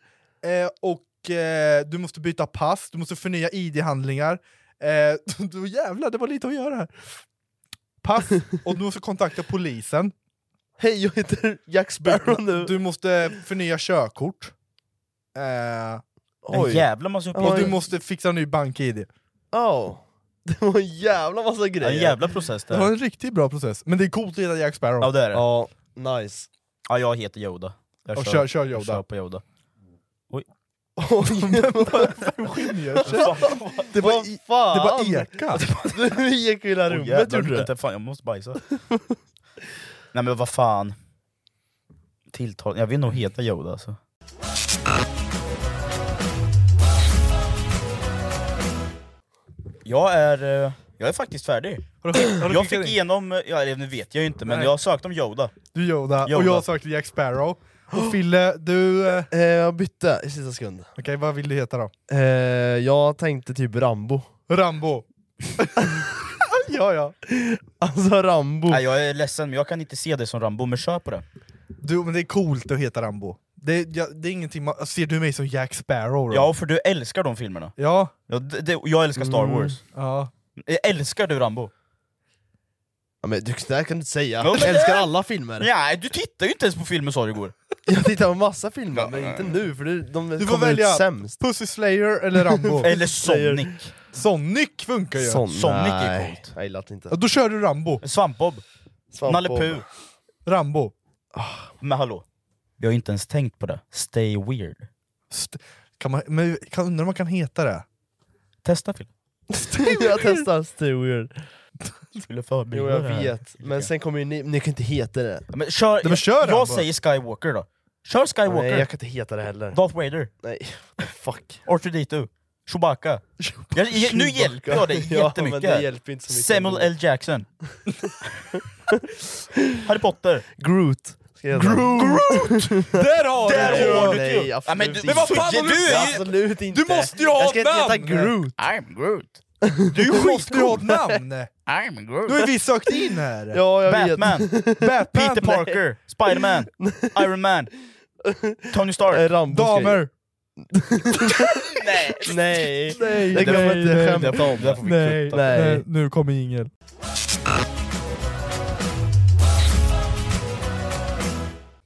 Speaker 1: eh, och eh, du måste byta pass, du måste förnya id-handlingar. Eh, då jävlar, det var lite att göra här. Pass, och du måste kontakta polisen.
Speaker 3: Hej, jag heter Jack Sparrow nu!
Speaker 1: Du måste förnya körkort. Eh,
Speaker 2: En jävla massa
Speaker 1: och
Speaker 2: uppgifter.
Speaker 1: du måste fixa en ny bank-id.
Speaker 3: Oh. Det var en jävla massa
Speaker 2: En
Speaker 3: grejer!
Speaker 2: jävla process
Speaker 1: Det var
Speaker 2: där.
Speaker 1: en riktigt bra process, men det är coolt att heta Jack Sparrow.
Speaker 2: Ja det är det.
Speaker 3: Ja, nice.
Speaker 2: Ja, jag heter Yoda. Jag
Speaker 1: Och kör, kör Yoda.
Speaker 2: kör på Yoda.
Speaker 3: det var, i-
Speaker 1: Det
Speaker 3: det
Speaker 1: var eka!
Speaker 3: Nu gick vi i det här
Speaker 2: Åh,
Speaker 3: rummet
Speaker 2: jävlar,
Speaker 3: gjorde det.
Speaker 2: vänta, fan, jag måste bajsa. Nej men vad fan. Tilltal. Jag vill nog heta Yoda alltså. Jag är, eh, jag är faktiskt färdig.
Speaker 1: Har du skick- har du
Speaker 2: Jag
Speaker 1: skickat
Speaker 2: fick
Speaker 1: in?
Speaker 2: igenom, ja, eller nu vet jag ju inte, men
Speaker 1: Nej.
Speaker 2: jag sökte om Yoda.
Speaker 1: Du Yoda, och
Speaker 2: Yoda.
Speaker 1: jag sökte Jack Sparrow. Och Fille, du... eh,
Speaker 3: Eh, jag bytte i sista sekund.
Speaker 1: Okej, vad vill du heta då?
Speaker 3: Eh, jag tänkte typ Rambo.
Speaker 1: Rambo. ja, ja.
Speaker 3: Alltså Rambo.
Speaker 2: Nej, jag är ledsen, men jag kan inte se det som Rambo, men kör på det.
Speaker 1: Du, men det är coolt att heta Rambo. Det, ja, det är ingenting man... Ser du mig som Jack Sparrow då?
Speaker 2: Ja, för du älskar de filmerna.
Speaker 1: Ja.
Speaker 2: Ja, det, det, jag älskar Star
Speaker 1: Mm.
Speaker 2: Wars.
Speaker 1: ja.
Speaker 2: Älskar du Rambo?
Speaker 3: Ja, men du, det här kan du inte säga.
Speaker 2: Ja, men
Speaker 3: Jag älskar
Speaker 2: det-
Speaker 3: alla filmer.
Speaker 2: Nej, du tittar ju inte ens på filmer sa du igår.
Speaker 3: Jag tittar på massa filmer, men inte nu för det, de
Speaker 1: Du får
Speaker 3: kommer
Speaker 1: välja
Speaker 3: ut sämst.
Speaker 1: Pussy Slayer eller Rambo.
Speaker 2: Eller Sonic.
Speaker 1: Sonic funkar ju!
Speaker 3: Sån-
Speaker 2: Sonic är
Speaker 3: nej,
Speaker 2: coolt.
Speaker 3: Jag gillar det inte.
Speaker 1: Ja, då kör du Rambo.
Speaker 2: Svampbob.
Speaker 3: Svamp
Speaker 2: Nalle
Speaker 3: och-
Speaker 2: Puh.
Speaker 1: Rambo.
Speaker 2: Men hallå, jag har inte ens tänkt på det. Stay weird.
Speaker 1: St- kan man, men, kan, undrar om man kan heta det?
Speaker 2: Testa Fille.
Speaker 3: jag testar Stay Weird.
Speaker 2: Skulle förbereda
Speaker 3: Jo jag
Speaker 2: det här.
Speaker 3: vet, men sen kommer ju ni, ni kan inte heta det.
Speaker 2: Ja, Men kör,
Speaker 1: men kör
Speaker 2: jag,
Speaker 1: Rambo.
Speaker 2: jag säger Skywalker då. Kör Skywalker.
Speaker 3: Nej jag kan inte heta det heller.
Speaker 2: Darth Vader.
Speaker 3: Nej, fuck.
Speaker 2: R2D2. Chewbacca. Jag, jag, nu hjälper jag dig
Speaker 3: Ja,
Speaker 2: jättemycket.
Speaker 3: men det hjälper inte så mycket.
Speaker 2: Samuel L. Jackson. Harry Potter.
Speaker 3: Groot. Groot!
Speaker 1: Där har
Speaker 2: Där
Speaker 1: du
Speaker 2: har du
Speaker 3: Nej,
Speaker 2: ju!
Speaker 3: absolut
Speaker 2: Ja, men du-
Speaker 3: inte.
Speaker 2: men vad fan,
Speaker 3: Absolut
Speaker 2: du är ju-
Speaker 3: Absolut inte!
Speaker 1: måste ju ha
Speaker 3: Jag ska inte heta
Speaker 1: namn.
Speaker 3: Groot!
Speaker 2: I'm Groot.
Speaker 1: Du är skitcool! namn!
Speaker 2: I'm Groot.
Speaker 1: Nu har vi sökt in här!
Speaker 3: Ja, jag
Speaker 2: Batman.
Speaker 1: Batman,
Speaker 2: Peter Parker. Spiderman. Iron Man. Tony
Speaker 3: vet.
Speaker 2: Stark.
Speaker 3: Eh, Rambo ska jag-
Speaker 1: damer!
Speaker 2: Nej.
Speaker 3: Nej!
Speaker 1: Nej,
Speaker 3: Det kan
Speaker 1: nej,
Speaker 3: man inte
Speaker 1: nej,
Speaker 3: skämta om.
Speaker 2: Där får vi
Speaker 1: Nej,
Speaker 2: kutta.
Speaker 3: Nej.
Speaker 1: nej, nu kommer ingen.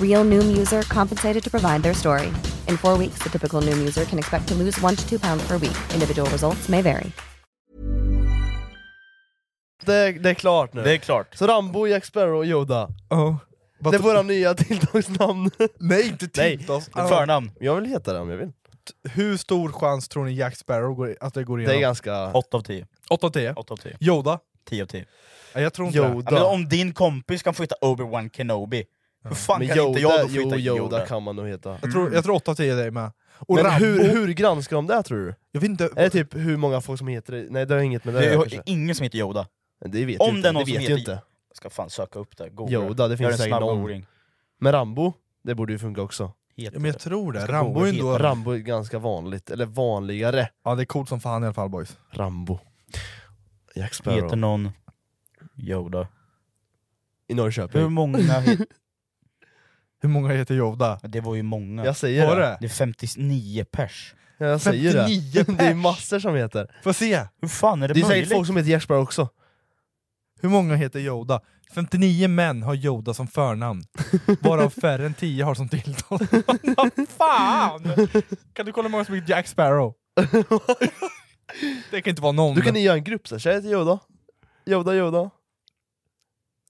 Speaker 10: Real Noom user compensated to provide their story. In four weeks, the typical Noom user can expect to lose one to two pounds per week. Individual results may vary.
Speaker 3: det, det är klart nu.
Speaker 2: Det är klart.
Speaker 3: Så Rambo, Jack Sparrow och Yoda.
Speaker 1: Ja.
Speaker 3: Det är våra nya tilltagsnamn.
Speaker 1: Nej, inte
Speaker 3: Nej.
Speaker 1: Tintas!
Speaker 2: Förnamn.
Speaker 3: Jag vill heta det om jag vill.
Speaker 1: Hur stor chans tror ni Jack Sparrow går, att det går
Speaker 3: Det är
Speaker 1: igenom?
Speaker 3: ganska...
Speaker 2: 8 av 10.
Speaker 1: 8 av 10?
Speaker 2: 8 av 10.
Speaker 1: Yoda?
Speaker 2: 10 av 10.
Speaker 1: Nej, jag tror inte det.
Speaker 3: Yoda.
Speaker 2: Ja, men om din kompis kan få heta Obi-Wan Kenobi, hur fan
Speaker 3: Men
Speaker 2: kan
Speaker 3: Yoda,
Speaker 2: inte jag då få
Speaker 3: jo,
Speaker 2: heta
Speaker 3: Yoda,
Speaker 2: Yoda? Mm.
Speaker 3: kan man nog heta.
Speaker 1: Jag tror, jag tror 8 av 10 är dig med. Och
Speaker 3: Men
Speaker 1: Rambo,
Speaker 3: hur, hur granskar de det tror du?
Speaker 1: jag vet inte...
Speaker 3: Är det typ hur många folk som heter det? Nej det har inget med det,
Speaker 2: Det
Speaker 3: att
Speaker 2: är
Speaker 3: göra
Speaker 2: ju
Speaker 3: kanske.
Speaker 2: ingen som heter Yoda.
Speaker 3: Det vet
Speaker 2: om
Speaker 3: ju inte.
Speaker 2: det är någon
Speaker 3: det
Speaker 2: som
Speaker 3: vet
Speaker 2: heter-
Speaker 3: ju inte.
Speaker 2: Jag ska fan söka upp det. Googla.
Speaker 3: Yoda, det finns
Speaker 2: Gör en
Speaker 3: säkert
Speaker 2: snabb
Speaker 3: någon.
Speaker 2: googling.
Speaker 3: Men Rambo, det borde ju funka också.
Speaker 2: Heter
Speaker 1: Ja, men jag
Speaker 2: det.
Speaker 1: tror det.
Speaker 2: Ska
Speaker 1: Rambo
Speaker 2: Google
Speaker 1: är ändå...
Speaker 2: heta-
Speaker 3: Rambo är ganska vanligt, eller vanligare.
Speaker 1: Ja, det är coolt som fan i alla fall boys.
Speaker 3: Rambo. Jack Sparrow.
Speaker 2: Heter någon Yoda?
Speaker 3: I
Speaker 2: Hur
Speaker 3: Norrköping.
Speaker 2: många heter...
Speaker 1: Hur många heter Yoda?
Speaker 2: Det var ju många.
Speaker 3: Jag säger
Speaker 1: Var
Speaker 3: det.
Speaker 1: det?
Speaker 2: Det är 59 pers.
Speaker 3: Jag säger det.
Speaker 1: 59
Speaker 3: det är massor som heter.
Speaker 1: Får jag se?
Speaker 2: Hur fan är det,
Speaker 3: Det är säkert
Speaker 2: möjligt?
Speaker 3: folk som heter Jack Sparrow också.
Speaker 1: Hur många heter Yoda? 59 män har Yoda som förnamn, varav färre än 10 har som tilltalsnamn. fan! Kan du kolla hur många som heter Jack Sparrow? Det kan inte vara någon.
Speaker 3: Du kan ju göra en grupp såhär, tjejer heter Yoda. Yoda, Yoda.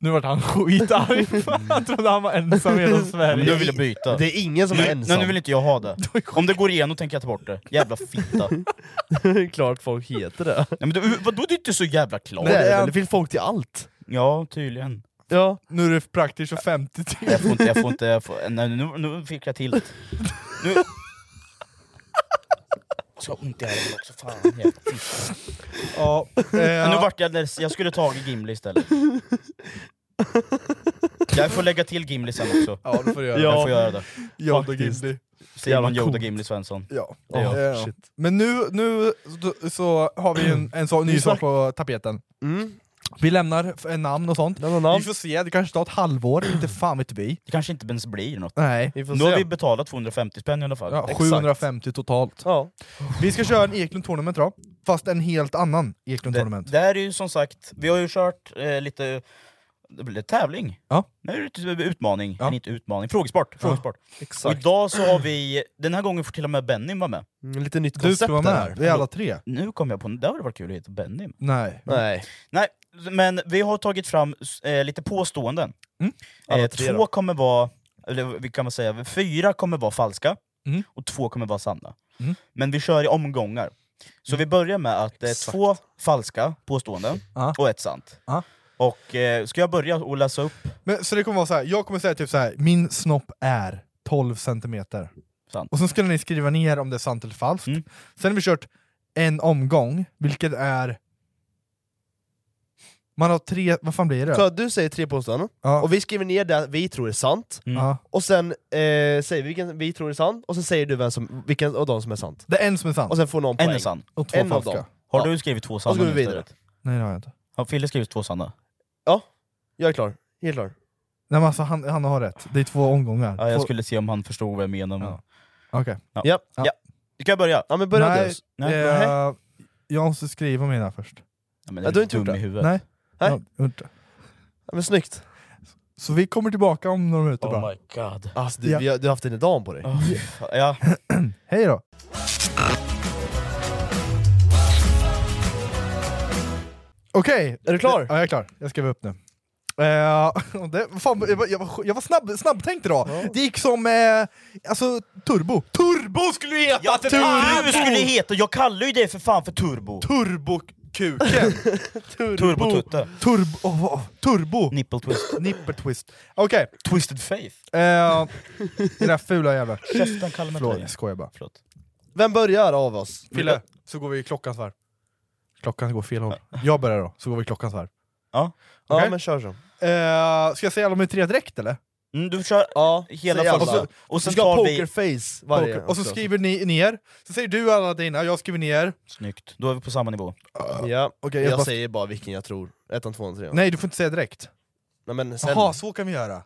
Speaker 1: Nu vart han skitarg, Fan, han trodde han var ensam i hela Sverige.
Speaker 2: Nu vill jag byta.
Speaker 3: Det är ingen som är
Speaker 2: Nu,
Speaker 3: ensam.
Speaker 2: nu vill inte jag ha det. Om det går igenom tänker jag ta bort det. Jävla fitta. Nej,
Speaker 3: det är klart folk heter det.
Speaker 2: men du, vadå, du är inte så jävla klar?
Speaker 3: det, är,
Speaker 1: det är-
Speaker 3: väl, det finns folk till allt.
Speaker 2: Ja, tydligen.
Speaker 3: Ja.
Speaker 1: Nu är det praktiskt för 50 till.
Speaker 2: Jag får inte, jag får inte, jag får, nej, nu, nu fick jag till det. Nu. Så jag har ont i armen också, fan jävla fitta.
Speaker 1: Ja, eh,
Speaker 2: Men Nu vart jag leds, jag skulle tagit Gimli istället. Jag får lägga till Gimli sen också.
Speaker 1: ja, det får du göra.
Speaker 2: Jag får göra det.
Speaker 1: Yoda
Speaker 3: faktiskt.
Speaker 1: Gimli.
Speaker 2: Simon
Speaker 3: Jävla
Speaker 2: Yoda
Speaker 3: coolt.
Speaker 2: Gimli Svensson.
Speaker 1: Ja.
Speaker 2: Det är jag.
Speaker 1: Eh, Men nu, nu så, så har vi en, en så, ny sak på tapeten.
Speaker 3: Mm.
Speaker 1: Vi lämnar f- eh, namn och sånt. Vi får se, det kanske tar ett halvår, inte fan vet vi.
Speaker 2: Det kanske inte ens blir något.
Speaker 1: Nej.
Speaker 2: Nu har vi betalat 250 spänn i alla fall.
Speaker 1: Ja, 750 totalt. Vi ska köra en Eklund Tournament då, fast en helt annan Eklund Tournament.
Speaker 2: Det här är ju som sagt, vi har ju kört eh, lite, det blir tävling.
Speaker 1: Ja.
Speaker 2: Nu är det lite utmaning, eller inte utmaning, frågesport. frågesport.
Speaker 3: exakt.
Speaker 2: Och idag så har vi, den här gången får till och med Benny vara med.
Speaker 3: Mm, lite nytt
Speaker 2: Du
Speaker 3: koncept
Speaker 2: ska vara
Speaker 3: det
Speaker 2: med.
Speaker 3: här.
Speaker 2: Vi är alla
Speaker 1: tre.
Speaker 2: Nu kom jag på, det hade varit kul att heta Benny.
Speaker 1: Nej.
Speaker 3: Nej.
Speaker 2: Mm. Nej, men vi har tagit fram eh, lite påståenden.
Speaker 3: Alla
Speaker 2: Eh,
Speaker 3: tre
Speaker 2: två
Speaker 3: då.
Speaker 2: kommer vara, eller vi kan väl säga, fyra kommer vara falska
Speaker 1: Mm.
Speaker 2: och två kommer vara sanna.
Speaker 1: Mm.
Speaker 2: Men vi kör i omgångar. Så vi börjar med att eh, två falska påståenden och ett sant. Och eh, ska jag börja och läsa upp?
Speaker 1: Men, så det kommer vara så här. jag kommer säga typ så här. min snopp är 12 centimeter.
Speaker 2: Sant.
Speaker 1: Och sen skulle ni skriva ner om det är sant eller falskt.
Speaker 3: Mm.
Speaker 1: Sen har vi kört en omgång, vilket är... Man har tre, vad fan blir det?
Speaker 3: Så du säger tre påståenden, och vi skriver ner det vi tror är sant,
Speaker 1: Ja.
Speaker 3: och sen eh, säger vi vilken vi tror är sant, och sen säger du vem som, vilken av dem som är sant.
Speaker 1: Det är en som är sant.
Speaker 3: Och sen får någon
Speaker 2: En
Speaker 3: poäng.
Speaker 2: är sann.
Speaker 1: Och två
Speaker 3: en av
Speaker 1: falska.
Speaker 3: dem.
Speaker 2: Har
Speaker 3: Ja.
Speaker 2: du skrivit två
Speaker 3: Och så går
Speaker 2: sanna
Speaker 3: vi
Speaker 2: nu
Speaker 3: vidare.
Speaker 2: istället?
Speaker 1: Nej det har jag inte.
Speaker 2: Har Fille skrivit två sanna?
Speaker 3: Ja, jag är klar. Helt klar.
Speaker 1: Nej men alltså han, han har rätt, det är två omgångar.
Speaker 2: Ja, jag
Speaker 1: Två-
Speaker 2: skulle se om han förstod vad jag menade. Ja.
Speaker 1: Okej.
Speaker 2: Ja. Ja. Ska jag börja?
Speaker 3: Ja men
Speaker 1: Nej, eh, jag måste skriva mina först.
Speaker 2: Ja, men är Ja, du har inte dum gjort i det. huvudet?
Speaker 1: Nej.
Speaker 3: Nej.
Speaker 1: Jag har inte.
Speaker 3: men snyggt.
Speaker 1: Så vi kommer tillbaka om några minuter bara.
Speaker 2: god.
Speaker 3: Alltså, du,
Speaker 1: Ja.
Speaker 3: vi har, du har haft en dam på dig.
Speaker 2: ja.
Speaker 1: Hej då! Okej! Är du klar? Ja, jag är klar. Jag skriver upp nu. Eh, det, fan, jag, var, jag, var, jag var snabb, snabbtänkt idag. Det gick som eh, alltså, turbo. Turbo skulle du heta!
Speaker 2: Ja,
Speaker 1: för
Speaker 2: turbo!
Speaker 1: fan!
Speaker 2: Du skulle heta, jag kallar ju dig för fan för turbo.
Speaker 1: Turbokuken!
Speaker 2: Turbotutte.
Speaker 1: Turbo, oh, oh, turbo!
Speaker 2: Nipple twist.
Speaker 1: Nipple twist. Okej.
Speaker 2: Twisted faith.
Speaker 1: Eh, det där fula jävla...
Speaker 2: Käften, kalla mig
Speaker 1: Förlåt,
Speaker 2: inte det.
Speaker 1: jag skojar bara.
Speaker 2: Förlåt.
Speaker 3: Vem börjar av oss?
Speaker 1: Fille, så går vi i klockans varv. Klockan går fel håll. Jag börjar då, så går vi i klockans varv.
Speaker 2: Ja.
Speaker 1: Okej?
Speaker 3: Ja men kör så.
Speaker 1: Eh, ska jag säga alla mina tre direkt eller?
Speaker 2: Mm, du kör
Speaker 3: Ja,
Speaker 2: hela
Speaker 3: säg alla.
Speaker 2: fallet. Och,
Speaker 3: Du
Speaker 2: sen
Speaker 3: ska ha
Speaker 2: tar vi...
Speaker 3: pokerface varje.
Speaker 1: och, och så
Speaker 3: också.
Speaker 1: skriver ni ner, så säger du alla dina, jag skriver ner.
Speaker 2: Snyggt, då är vi på samma nivå.
Speaker 3: Ja,
Speaker 1: Okej,
Speaker 3: jag,
Speaker 1: jag bara-
Speaker 3: säger bara vilken jag tror. Ettan, tvåan, trean.
Speaker 1: Nej du får inte säga direkt.
Speaker 3: Nej men sen.
Speaker 1: Jaha, så kan vi göra.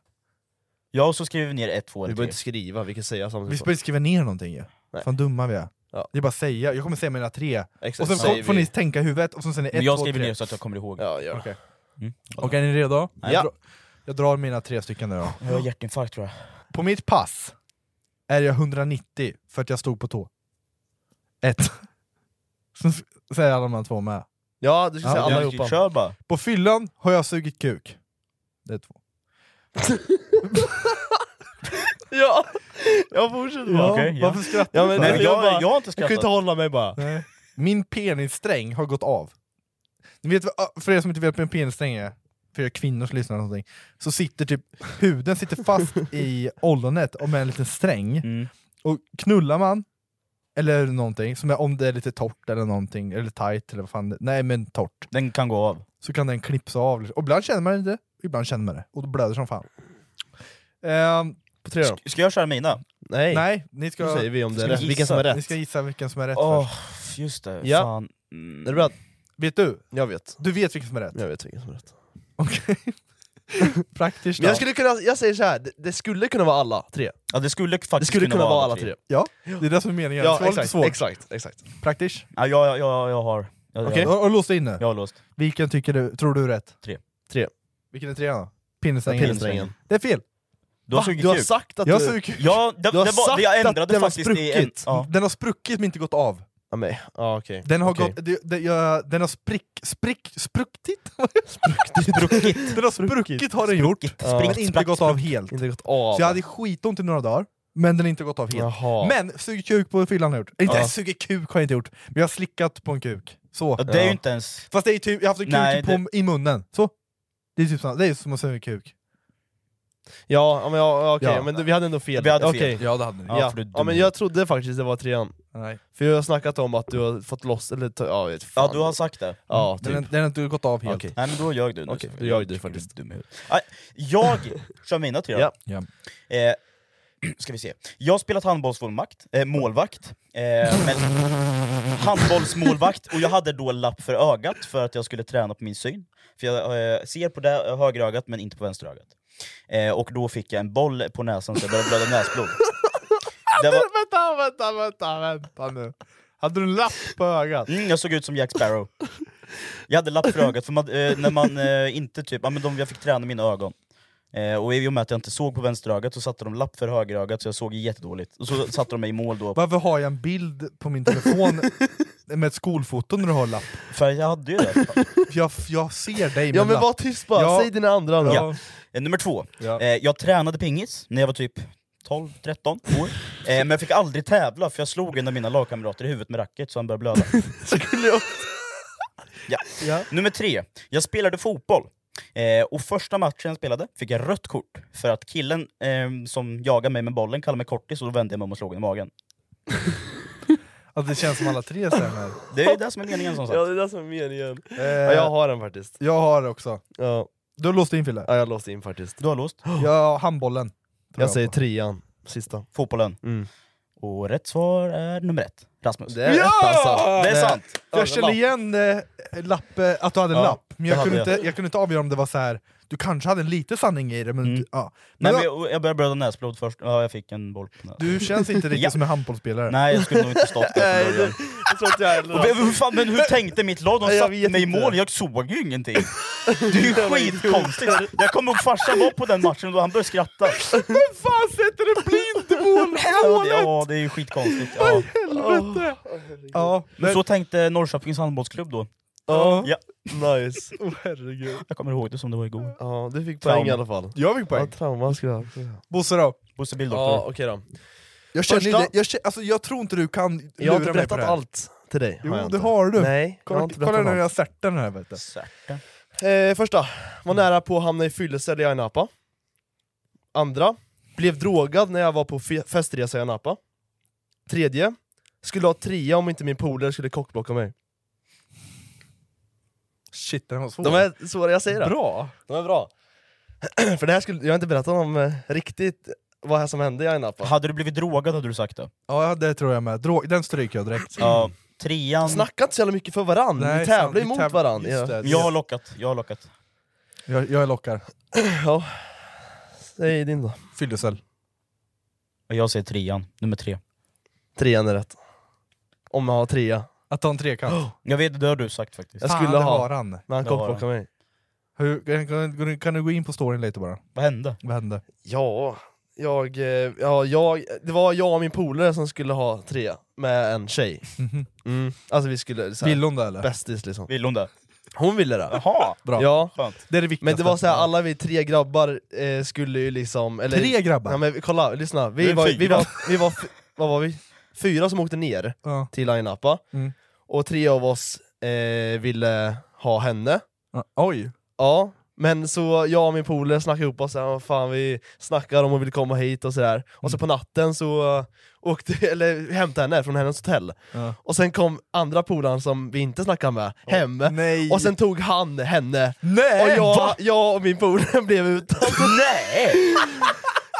Speaker 2: Ja, och så skriver vi ner ett, två
Speaker 3: vi
Speaker 2: eller
Speaker 3: behöver
Speaker 2: tre.
Speaker 3: inte skriva, vi kan säga
Speaker 1: Vi
Speaker 3: samtidigt.
Speaker 1: ska inte skriva ner någonting ju.
Speaker 3: Nej.
Speaker 1: Fan dumma vi är.
Speaker 3: Ja.
Speaker 1: Det är bara att säga, jag kommer säga mina tre.
Speaker 3: Exakt,
Speaker 1: och sen
Speaker 3: säger
Speaker 1: får, får
Speaker 3: vi.
Speaker 1: ni tänka i huvudet, och sen säger ni
Speaker 2: Men
Speaker 1: ett,
Speaker 2: jag
Speaker 1: två,
Speaker 2: skriver
Speaker 1: tre.
Speaker 2: ner så att jag kommer ihåg.
Speaker 3: Ja, gör det.
Speaker 1: Okej,
Speaker 2: Mm.
Speaker 1: Okej, är ni redo?
Speaker 2: Ja.
Speaker 1: Jag, drar, jag drar mina tre stycken nu då.
Speaker 2: Jag har hjärtinfarkt tror jag.
Speaker 1: På mitt pass är jag 190 för att jag stod på tå. Ett. Sen s- säger alla de här två med.
Speaker 3: Ja, du ska
Speaker 1: Ja,
Speaker 3: säga
Speaker 1: jag
Speaker 3: alla
Speaker 2: Jag
Speaker 3: ihop.
Speaker 2: Kör bara.
Speaker 1: På fyllan har jag sugit kuk. Det är två.
Speaker 3: Ja, jag fortsätter bara.
Speaker 2: Ja, Okej, ja.
Speaker 1: Varför skrattar
Speaker 3: Ja, men,
Speaker 2: Nej, men jag-
Speaker 3: bara,
Speaker 2: jag har inte
Speaker 3: Jag kan
Speaker 2: skrattat.
Speaker 3: inte hålla mig bara.
Speaker 1: Nej. Min penissträng har gått av. Ni vet, vad- för er som inte vet vad en penissträng är, för er kvinnor som lyssnar, eller någonting, så sitter typ huden sitter fast i ollonet och med en liten sträng.
Speaker 2: Mm.
Speaker 1: Och knullar man, eller någonting, som är, om det är lite torrt eller någonting, eller tight eller vad fan det, Nej men torrt.
Speaker 2: Den kan gå av.
Speaker 1: Så kan den klipsa av. liksom. Och ibland känner man det, ibland känner man det. Och då blöder som fan. Ehm, på tre då?
Speaker 2: Ska- Ska jag köra mina?
Speaker 3: Nej.
Speaker 1: Nej, ni ska...
Speaker 3: Nu säger vi om det är
Speaker 2: Ska
Speaker 3: rätt.
Speaker 2: vi
Speaker 3: vilken som är
Speaker 2: gissa?
Speaker 1: Ni
Speaker 3: rätt.
Speaker 1: ska gissa vilken som är rätt
Speaker 2: Åh,
Speaker 1: först.
Speaker 2: just det.
Speaker 3: Ja.
Speaker 2: Fan. Mm.
Speaker 3: Är det bra?
Speaker 1: Vet du?
Speaker 3: Jag vet.
Speaker 1: Du vet vilken som är rätt?
Speaker 3: Jag vet vilken som är rätt.
Speaker 1: Okej. Praktiskt
Speaker 3: Men
Speaker 1: då.
Speaker 3: jag, skulle kunna, jag säger så här. Det, det skulle kunna vara alla tre.
Speaker 2: Ja, det skulle faktiskt
Speaker 3: Det skulle kunna vara alla tre.
Speaker 1: Ja, det är det som är meningen. det
Speaker 3: Ja,
Speaker 1: ska vara lite
Speaker 3: exakt,
Speaker 1: svårt.
Speaker 3: exakt, exakt.
Speaker 1: Praktiskt.
Speaker 2: Ja, jag, jag, jag, jag har... Jag,
Speaker 1: Okej,
Speaker 2: jag,
Speaker 1: och, och lås in nu.
Speaker 2: jag har låst.
Speaker 1: Vilken tycker du, tror du är rätt?
Speaker 2: Tre.
Speaker 3: Tre.
Speaker 1: Vilken är trean då? Pinnesträngen.
Speaker 3: Pinnesträngen.
Speaker 1: Det är fel!
Speaker 2: Du har
Speaker 3: Va?
Speaker 2: sugit
Speaker 3: Du har
Speaker 2: kuk.
Speaker 3: sagt att
Speaker 1: Jag
Speaker 3: du...
Speaker 1: suger.
Speaker 2: Ja, det,
Speaker 3: Du har
Speaker 2: det var,
Speaker 3: sagt
Speaker 2: det jag
Speaker 3: att
Speaker 2: ändrade
Speaker 3: den har
Speaker 2: faktiskt i en...
Speaker 3: spruckit.
Speaker 2: Ja.
Speaker 1: Den har spruckit men inte gått av.
Speaker 3: Ja, men, ja, okej.
Speaker 1: Den har,
Speaker 3: Okej.
Speaker 1: gått, det, det, ja, den har sprick, sprick, spruckit?
Speaker 2: Spruckit.
Speaker 1: den har spruckit har den gjort,
Speaker 2: Spruckit,
Speaker 1: men
Speaker 2: spruckit,
Speaker 1: inte
Speaker 2: sprack,
Speaker 1: gått av helt.
Speaker 3: Inte gått av.
Speaker 1: Så jag hade skitont i några dagar, men den har inte gått av helt.
Speaker 3: Jaha.
Speaker 1: Men sugit kuk på fyllan har jag gjort. Inte
Speaker 3: Ja.
Speaker 1: sugit kuk har jag inte gjort, men jag har slickat på en kuk. Så.
Speaker 2: Ja, det är ju inte ens...
Speaker 1: Fast det är typ, jag har haft en kuk
Speaker 2: Nej,
Speaker 1: på, i munnen. Så. Det är typ så, det är som att suga kuk.
Speaker 3: Ja, ja, men, ja, ja, okej.
Speaker 1: Ja.
Speaker 3: men vi hade ändå fel.
Speaker 2: Vi hade fel.
Speaker 3: Okej.
Speaker 1: Ja det hade ni.
Speaker 2: Ja,
Speaker 3: Ja,
Speaker 2: för du är
Speaker 3: ja.
Speaker 2: dum.
Speaker 3: men jag trodde faktiskt det var trean.
Speaker 1: Nej.
Speaker 3: För jag har snackat om att du har fått loss, eller ta- ja, jag vet fan.
Speaker 2: Ja, du har sagt det.
Speaker 3: Ja,
Speaker 1: Den,
Speaker 3: typ.
Speaker 1: den har inte gått av helt.
Speaker 3: Okej.
Speaker 2: Nej men då ljög du nu.
Speaker 3: Okej, då ljög du
Speaker 2: Jag tycker
Speaker 3: faktiskt.
Speaker 2: är typ dum i huvudet. Nej, Jag kör mina tre då.
Speaker 3: Ja.
Speaker 1: Ja.
Speaker 2: Eh, ska vi se. Jag har spelat handbollsmålvakt, eh, målvakt. Eh, men handbollsmålvakt, och jag hade då lapp för ögat för att jag skulle träna på min syn. För jag eh, ser på det högra ögat men inte på vänster ögat. Eh, och då fick jag en boll på näsan så jag började blöda näsblod. Det var...
Speaker 1: Vänta, vänta, vänta, vänta nu. Hade du en lapp på ögat?
Speaker 2: Mm, jag såg ut som Jack Sparrow. Jag hade lapp för ögat, för man, eh, när man eh, inte typ, ja, men de, jag fick träna mina ögon. Eh, och i och med att jag inte såg på vänsterögat så satte de lapp för högerögat så jag såg jättedåligt. Och så satte de mig i mål då.
Speaker 1: Varför har jag en bild på min telefon med ett skolfoto när du har lapp?
Speaker 2: För jag hade ju det.
Speaker 1: Jag, jag ser dig med
Speaker 3: Ja men
Speaker 1: lapp.
Speaker 3: var tyst bara,
Speaker 1: Ja.
Speaker 3: säg dina andra då.
Speaker 2: Ja. Eh, Nummer två.
Speaker 3: Ja.
Speaker 2: Eh, jag tränade pingis när jag var typ 12-13 år. Eh, men jag fick aldrig tävla för jag slog en av mina lagkamrater i huvudet med racket så han började blöda. ja. Nummer tre. Jag spelade fotboll. Eh, och första matchen jag spelade fick jag rött kort för att killen eh, som jagade mig med bollen kallade mig kortis och då vände jag mig om och slog honom i magen.
Speaker 1: Alltså, det känns som alla tre stämmer.
Speaker 2: Det är det som är meningen som sagt.
Speaker 3: Ja det är det som är meningen.
Speaker 1: Eh,
Speaker 3: Ja, jag har den faktiskt.
Speaker 1: Jag har det också.
Speaker 3: Ja.
Speaker 1: Du har låst in Fille?
Speaker 3: ja, jag låste in faktiskt.
Speaker 2: Du har låst.
Speaker 1: Jag har handbollen. tror
Speaker 3: Jag säger
Speaker 1: på.
Speaker 3: trean, sista.
Speaker 2: Fotbollen.
Speaker 3: Mm.
Speaker 2: Och rätt svar är nummer ett. Rasmus.
Speaker 3: Det är rätt
Speaker 1: Ah!
Speaker 3: alltså.
Speaker 2: Det är sant!
Speaker 1: Jag känner igen eh, lapp, eh, att du hade en
Speaker 2: Ja,
Speaker 1: lapp, men jag
Speaker 2: det
Speaker 1: kunde,
Speaker 2: hade
Speaker 1: inte, jag kunde inte avgöra om det var så här. du kanske hade lite sanning i det, men...
Speaker 3: Mm.
Speaker 1: Du, ja.
Speaker 2: Nej,
Speaker 1: men
Speaker 2: men
Speaker 1: jag,
Speaker 2: jag, jag började blöda näsblod först, ja, jag fick en boll på näsan.
Speaker 1: du känns inte riktigt
Speaker 2: Ja.
Speaker 1: som en handbollsspelare.
Speaker 2: Nej, jag skulle nog inte stått där från början.
Speaker 3: Jag tror inte jag heller
Speaker 2: Och
Speaker 3: har.
Speaker 2: men hur fan, men hur tänkte mitt lag? De
Speaker 3: Jag
Speaker 2: satte
Speaker 3: vet
Speaker 2: mig i
Speaker 3: inte.
Speaker 2: mål, jag såg ju ingenting. Det är ju skitkonstigt. Jag kommer ihåg farsan var på den matchen och han började skratta.
Speaker 1: Vem fan sätter en blind mål på
Speaker 2: Ja, det,
Speaker 1: målet?
Speaker 2: ja, det är ju skitkonstigt. Ja.
Speaker 1: Helvete! Ja,
Speaker 2: Men
Speaker 1: men,
Speaker 2: så tänkte Norrköpings handbollsklubb då.
Speaker 3: Ja,
Speaker 2: Ja,
Speaker 3: nice.
Speaker 1: oh, herregud.
Speaker 2: jag kommer ihåg det som det var igår.
Speaker 3: Ja, du fick poäng
Speaker 2: Trauma.
Speaker 3: i alla fall.
Speaker 1: Jag fick
Speaker 3: Ja,
Speaker 1: poäng.
Speaker 3: trauma skulle jag ha.
Speaker 1: Bosse då?
Speaker 2: Bosse Billdoktor.
Speaker 3: Ja, okej då.
Speaker 1: Jag känner
Speaker 3: Första-
Speaker 1: inte, jag, känner, alltså, jag tror inte du kan lura
Speaker 3: Jag har inte
Speaker 1: mig på
Speaker 3: berättat
Speaker 1: det här.
Speaker 3: allt till dig.
Speaker 1: Jo,
Speaker 3: jag
Speaker 1: det
Speaker 3: inte.
Speaker 1: har du.
Speaker 3: Nej, jag har
Speaker 1: Kolla,
Speaker 3: inte
Speaker 1: kolla
Speaker 3: berättat
Speaker 1: när
Speaker 3: allt.
Speaker 1: jag stärtar den här vet du.
Speaker 2: Särta.
Speaker 3: Eh, första, var nära på att hamna i fyllelse eller i Ayia Napa. Andra, blev drogad när jag var på fe- festresa i Ayia Napa. Tredje, skulle ha trea om inte min polare skulle kockblocka mig.
Speaker 1: Shit, den var svår.
Speaker 3: De är svåra, jag säger det.
Speaker 1: Bra!
Speaker 3: De är bra. För det här skulle, jag har inte berättat om eh, riktigt vad här som hände i Ayia Napa.
Speaker 2: Hade du blivit drogad hade du sagt det.
Speaker 1: Ja, det tror jag med. Drog, den stryker jag direkt.
Speaker 2: Ja, trean...
Speaker 3: Snacka inte så jävla mycket för varann,
Speaker 1: Nej,
Speaker 3: ni
Speaker 1: sant,
Speaker 3: tävlar
Speaker 1: vi
Speaker 3: emot
Speaker 1: täv-
Speaker 3: varann.
Speaker 1: just
Speaker 3: Ja.
Speaker 1: det.
Speaker 2: Jag har lockat, jag har lockat.
Speaker 1: Jag, jag lockar.
Speaker 3: Ja. Säg din då.
Speaker 1: Fyllecell.
Speaker 2: Och jag säger trean, nummer tre.
Speaker 3: Trean är rätt. Om jag har trea.
Speaker 1: Att ta en trekant.
Speaker 2: Jag vet, det har du sagt faktiskt.
Speaker 3: Jag
Speaker 1: Fan,
Speaker 3: skulle
Speaker 1: det
Speaker 3: ha,
Speaker 1: har han.
Speaker 3: men han
Speaker 2: Det har
Speaker 3: kockblockade mig.
Speaker 1: Hur, kan, kan, kan du gå in på storyn lite bara?
Speaker 2: Vad hände?
Speaker 1: Vad hände?
Speaker 3: Ja, jag, eh, ja jag, det var jag och min polare som skulle ha trea med en tjej.
Speaker 1: Mhm.
Speaker 3: Mm. Alltså vi skulle, så här,
Speaker 1: Vill hon det eller?
Speaker 3: bästis liksom.
Speaker 2: Vill hon det?
Speaker 3: Hon ville det.
Speaker 2: Jaha!
Speaker 1: Bra.
Speaker 3: Ja.
Speaker 2: Skönt.
Speaker 1: Det är det viktigaste.
Speaker 3: Men det var så här, alla vi tre grabbar eh, skulle ju liksom... Eller,
Speaker 1: Tre grabbar?
Speaker 3: Ja, men kolla, lyssna.
Speaker 2: Det
Speaker 3: Vi
Speaker 2: är
Speaker 3: var, vi
Speaker 2: fyra.
Speaker 3: var, vi var, f- vad var vi? Fyra som åkte ner
Speaker 1: Ja.
Speaker 3: till Ayia Napa.
Speaker 1: Mm.
Speaker 3: och tre av oss eh, ville ha henne.
Speaker 1: Ja, Oj!
Speaker 3: Ja, men så jag och min polare snackade ihop oss, så här, "Vad fan, vi snackar om hon vill komma hit och sådär. Och
Speaker 1: Mm.
Speaker 3: så på natten så eh, åkte, eller hämtade henne från hennes hotell.
Speaker 1: Ja.
Speaker 3: Och sen kom andra polaren som vi inte snackade med hem,
Speaker 1: Nej!
Speaker 3: och sen tog han henne.
Speaker 1: Nej!
Speaker 3: och jag,
Speaker 1: va?
Speaker 3: jag och min polare blev utan.
Speaker 2: Nej!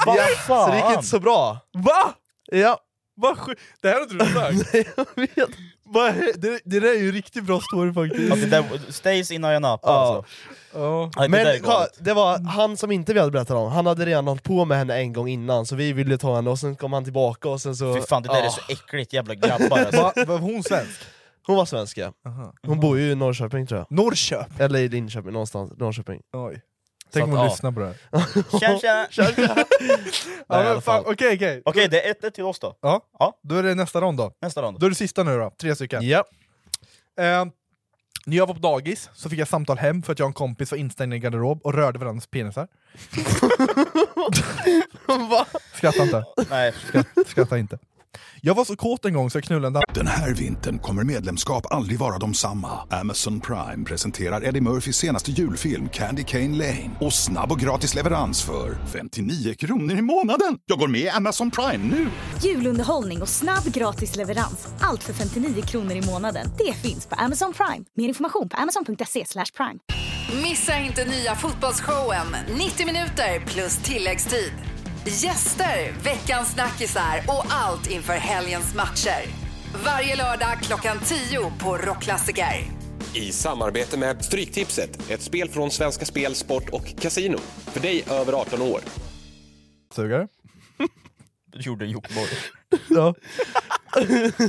Speaker 2: Vad
Speaker 3: Så det gick
Speaker 2: fan!
Speaker 3: inte så bra.
Speaker 1: Va?
Speaker 3: Ja,
Speaker 1: Vad sjukt! Det här har inte du sagt!
Speaker 3: jag vet.
Speaker 1: Va? det, det där är ju en riktigt bra story faktiskt.
Speaker 2: Ja, det där, stays in Ayia Napa
Speaker 3: Ja.
Speaker 2: alltså.
Speaker 1: Ja.
Speaker 2: Nej, det där är
Speaker 3: Men kolla,
Speaker 2: galet.
Speaker 3: det var han som inte vi hade berättat om, han hade redan hållit på med henne en gång innan, så vi ville ta henne och sen kom han tillbaka och sen så...
Speaker 2: Fy fan, det där
Speaker 3: Ja.
Speaker 2: är så äckligt jävla grabbar alltså.
Speaker 1: Va, var hon svensk?
Speaker 3: Hon var svensk ja. Hon bor ju i Norrköping tror jag.
Speaker 1: Norrköp!
Speaker 3: Eller i Linköping, någonstans. Norrköping.
Speaker 1: Oj. Tänk om
Speaker 3: Så
Speaker 1: hon
Speaker 3: att, ja.
Speaker 1: lyssnar på det här.
Speaker 2: Tja, tja.
Speaker 3: Kör, kör.
Speaker 1: Ja,
Speaker 3: i
Speaker 1: men
Speaker 3: alla
Speaker 1: fan,
Speaker 3: fall.
Speaker 1: Okej, okej.
Speaker 2: Okej, det är 1-1 till oss då.
Speaker 1: Ja.
Speaker 2: Ja.
Speaker 1: Då är det nästa rond då.
Speaker 2: Nästa rond.
Speaker 1: Då är det sista nu då, tre stycken.
Speaker 3: Ja.
Speaker 1: Eh, när jag var på dagis så fick jag samtal hem för att jag och en kompis var instängd i en garderob och rörde varandras penisar. Skratta inte,
Speaker 2: Nej.
Speaker 1: skratta inte. Jag var så kåt en gång så jag knullade en dam-
Speaker 6: Den här vintern kommer medlemskap aldrig vara de samma. Amazon Prime presenterar Eddie Murphys senaste julfilm Candy Cane Lane. Och snabb och gratis leverans för 59 kronor i månaden. Jag går med i Amazon Prime nu!
Speaker 7: Julunderhållning och snabb gratis leverans. Allt för 59 kronor i månaden. Det finns på Amazon Prime. Mer information på amazon.se slash prime.
Speaker 8: Missa inte nya fotbollsshowen 90 minuter plus tilläggstid. Gäster, veckans snackisar och allt inför helgens matcher. Varje lördag klockan 10 på Rockklassiker.
Speaker 9: i samarbete med Stryktipset, ett spel från Svenska Spel, Sport och Casino. För dig över 18 år.
Speaker 1: Sugare.
Speaker 2: Gjorde en Jokkmokk.
Speaker 1: Ja.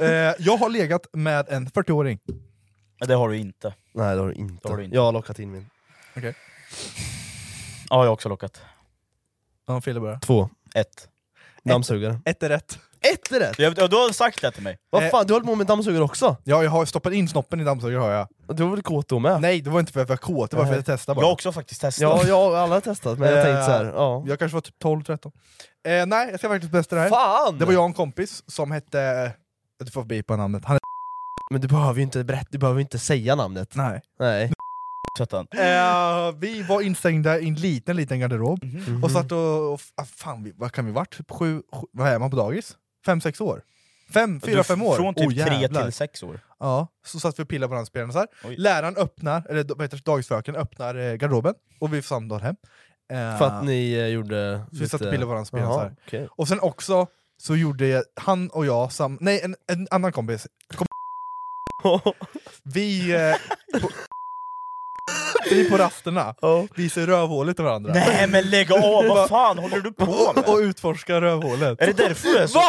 Speaker 1: eh, jag har legat med en 40-åring.
Speaker 2: Men det har du inte.
Speaker 3: Nej det har du inte.
Speaker 2: Det har du inte.
Speaker 3: Jag har lockat in min.
Speaker 1: Okej.
Speaker 2: Ja, jag har också lockat.
Speaker 1: Ja, Fille börjar.
Speaker 3: Två.
Speaker 2: Ett.
Speaker 3: Dammsugare.
Speaker 1: Ett är rätt.
Speaker 3: Ett är rätt!
Speaker 2: Jag, du har sagt det till mig.
Speaker 3: Vad
Speaker 1: Eh.
Speaker 3: fan, du höll på med dammsugare också?
Speaker 1: Ja, jag har stoppat in snoppen i dammsugaren har jag.
Speaker 3: Du var väl kåt då med?
Speaker 1: Nej, det var inte för att jag var kåt, det var för att jag testade
Speaker 2: Jag
Speaker 1: bara.
Speaker 2: har också faktiskt testat.
Speaker 3: Ja, jag, alla har testat, men jag tänkte
Speaker 1: Eh.
Speaker 3: såhär, ja.
Speaker 1: Jag kanske var typ 12-13. Eh, nej, jag ska faktiskt bästa det här.
Speaker 3: Fan!
Speaker 1: Det var jag och en kompis som hette... Du får beepa namnet. Han
Speaker 3: Men du behöver ju inte berätta, du behöver ju inte säga namnet.
Speaker 1: är... Nej.
Speaker 3: Nej.
Speaker 2: Sätta den.
Speaker 1: Eh, vi var instängda i en liten, liten garderob.
Speaker 2: Mhm.
Speaker 1: Och satt och... och ah, fan, vi, vad kan vi varit? Typ sju, sju... Vad är man på dagis? Fem, sex år? Fem, fyra,
Speaker 2: Du-
Speaker 1: fem år?
Speaker 2: Från typ
Speaker 1: Åh,
Speaker 2: tre
Speaker 1: jävlar.
Speaker 2: till sex år.
Speaker 1: Ja, så satt vi och pillade på varandras spelare så här.
Speaker 2: Oj.
Speaker 1: Läraren öppnar, eller vad heter det, dagisfröken öppnar eh, garderoben och vi får samtal hem. Eh,
Speaker 3: För att ni eh, gjorde...
Speaker 1: Så vi satt och pillade på varandras spelare så här.
Speaker 3: Jaha, okej.
Speaker 1: Och sen också så gjorde jag- han och jag, sam nej en, en annan kompis, kom vi, eh, på, vi på rasterna visar rövhålet till varandra.
Speaker 2: Nej men lägg av, vad fan håller du på
Speaker 1: Och, och
Speaker 2: med?
Speaker 1: utforskar rövhålet.
Speaker 2: Är det därför du är så...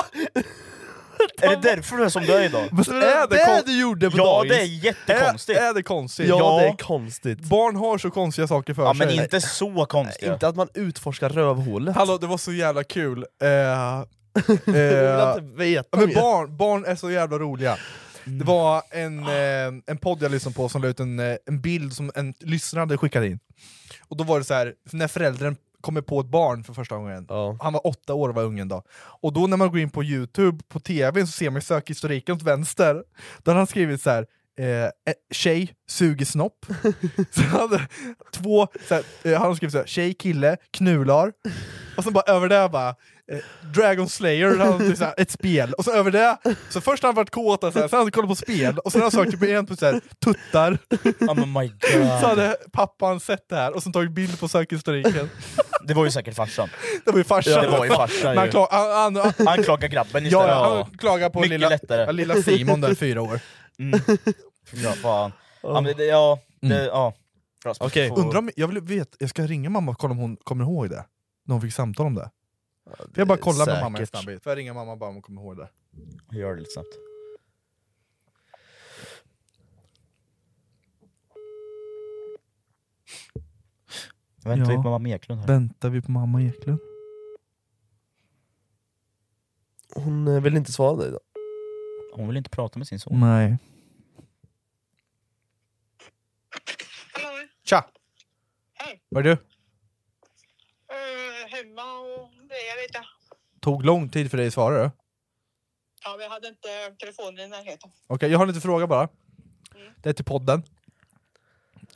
Speaker 2: Är det därför du är som du är idag?
Speaker 1: Men är det, kon-
Speaker 3: du gjorde
Speaker 2: Ja det är
Speaker 1: är,
Speaker 2: jättekonstigt!
Speaker 1: är det konstigt?
Speaker 3: Ja,
Speaker 2: Ja.
Speaker 3: det är konstigt.
Speaker 1: Barn har så konstiga saker för
Speaker 2: Ja
Speaker 1: sig.
Speaker 2: men inte så konstigt.
Speaker 3: Inte att man utforskar rövhålet.
Speaker 1: Hallå, det var så jävla kul. Eh, eh,
Speaker 3: Jag vill inte veta
Speaker 1: ja, men
Speaker 3: mer.
Speaker 1: barn, barn är så jävla roliga. Det var en, eh, en podd jag lyssnade på som la ut en, eh, en bild som en lyssnare hade skickat in. Och då var det så här när föräldern kommer på ett barn för första gången,
Speaker 3: Ja.
Speaker 1: han var åtta år och var ungen då. Och då när man går in på youtube, på tvn, så ser man ju sökhistoriken åt vänster. Då hade han skrivit så här. Eh, eh, tjej, suger snopp. så hade två, så här, eh, han hade skrivit så här, tjej, kille, knular. Och sen bara över det bara, eh, Dragon Slayer, han hade typ så här, ett spel. Och så över det, så först har han varit kåt, och så här, sen har han kollat på spel, och sen har han sökt typ igen på så här, tuttar.
Speaker 2: Ja, men my
Speaker 1: Så
Speaker 2: god.
Speaker 1: hade pappan sett det här och sen tagit bild på sökhistoriken.
Speaker 2: Det var ju säkert farsan.
Speaker 1: Det var ju farsan.
Speaker 2: Ja, det var ju farsan
Speaker 1: Men han,
Speaker 2: ju.
Speaker 1: klag, han, han,
Speaker 2: Anklaga grabben
Speaker 1: ja,
Speaker 2: istället.
Speaker 1: han klagar på
Speaker 2: Mycket
Speaker 1: lilla,
Speaker 2: lättare.
Speaker 1: ja, lilla Simon där, fyra år.
Speaker 2: Ja, fan. Ja, men det, ja, det, ja. Bra spel.
Speaker 3: Mm. Okej.
Speaker 2: Får-
Speaker 1: Undrar om, jag, vill veta, jag ska ringa mamma och kolla om hon kommer ihåg det. När hon fick samtal om det. Får jag bara kolla med mamma en
Speaker 3: säkert.
Speaker 1: snabbis? Får jag ringa mamma och bara om hon kommer ihåg det?
Speaker 2: Gör det lite snabbt. Väntar vi
Speaker 1: Ja.
Speaker 2: på mamma Eklund här?
Speaker 1: Väntar vi på mamma Eklund?
Speaker 3: Hon eh, vill inte svara dig då.
Speaker 2: Hon vill inte prata med sin son.
Speaker 1: Nej. Tja! Hej! Var är du?
Speaker 11: Eh, hemma och grejer lite.
Speaker 1: Tog lång tid för dig att svara du? Okej,
Speaker 11: Ja, vi hade inte telefonen i närheten. Mm.
Speaker 1: jag har en liten fråga bara. Det är till podden.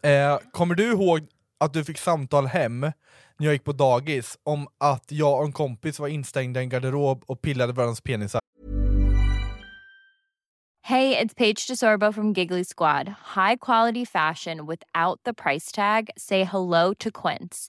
Speaker 1: Eh, kommer du ihåg att du fick samtal hem när jag gick på dagis om att jag och en kompis var instängda i en garderob och pillade varandras penisar?
Speaker 12: Hey, it's Paige DeSorbo from Giggly Squad. High quality fashion without the price tag. Say hello to Quince.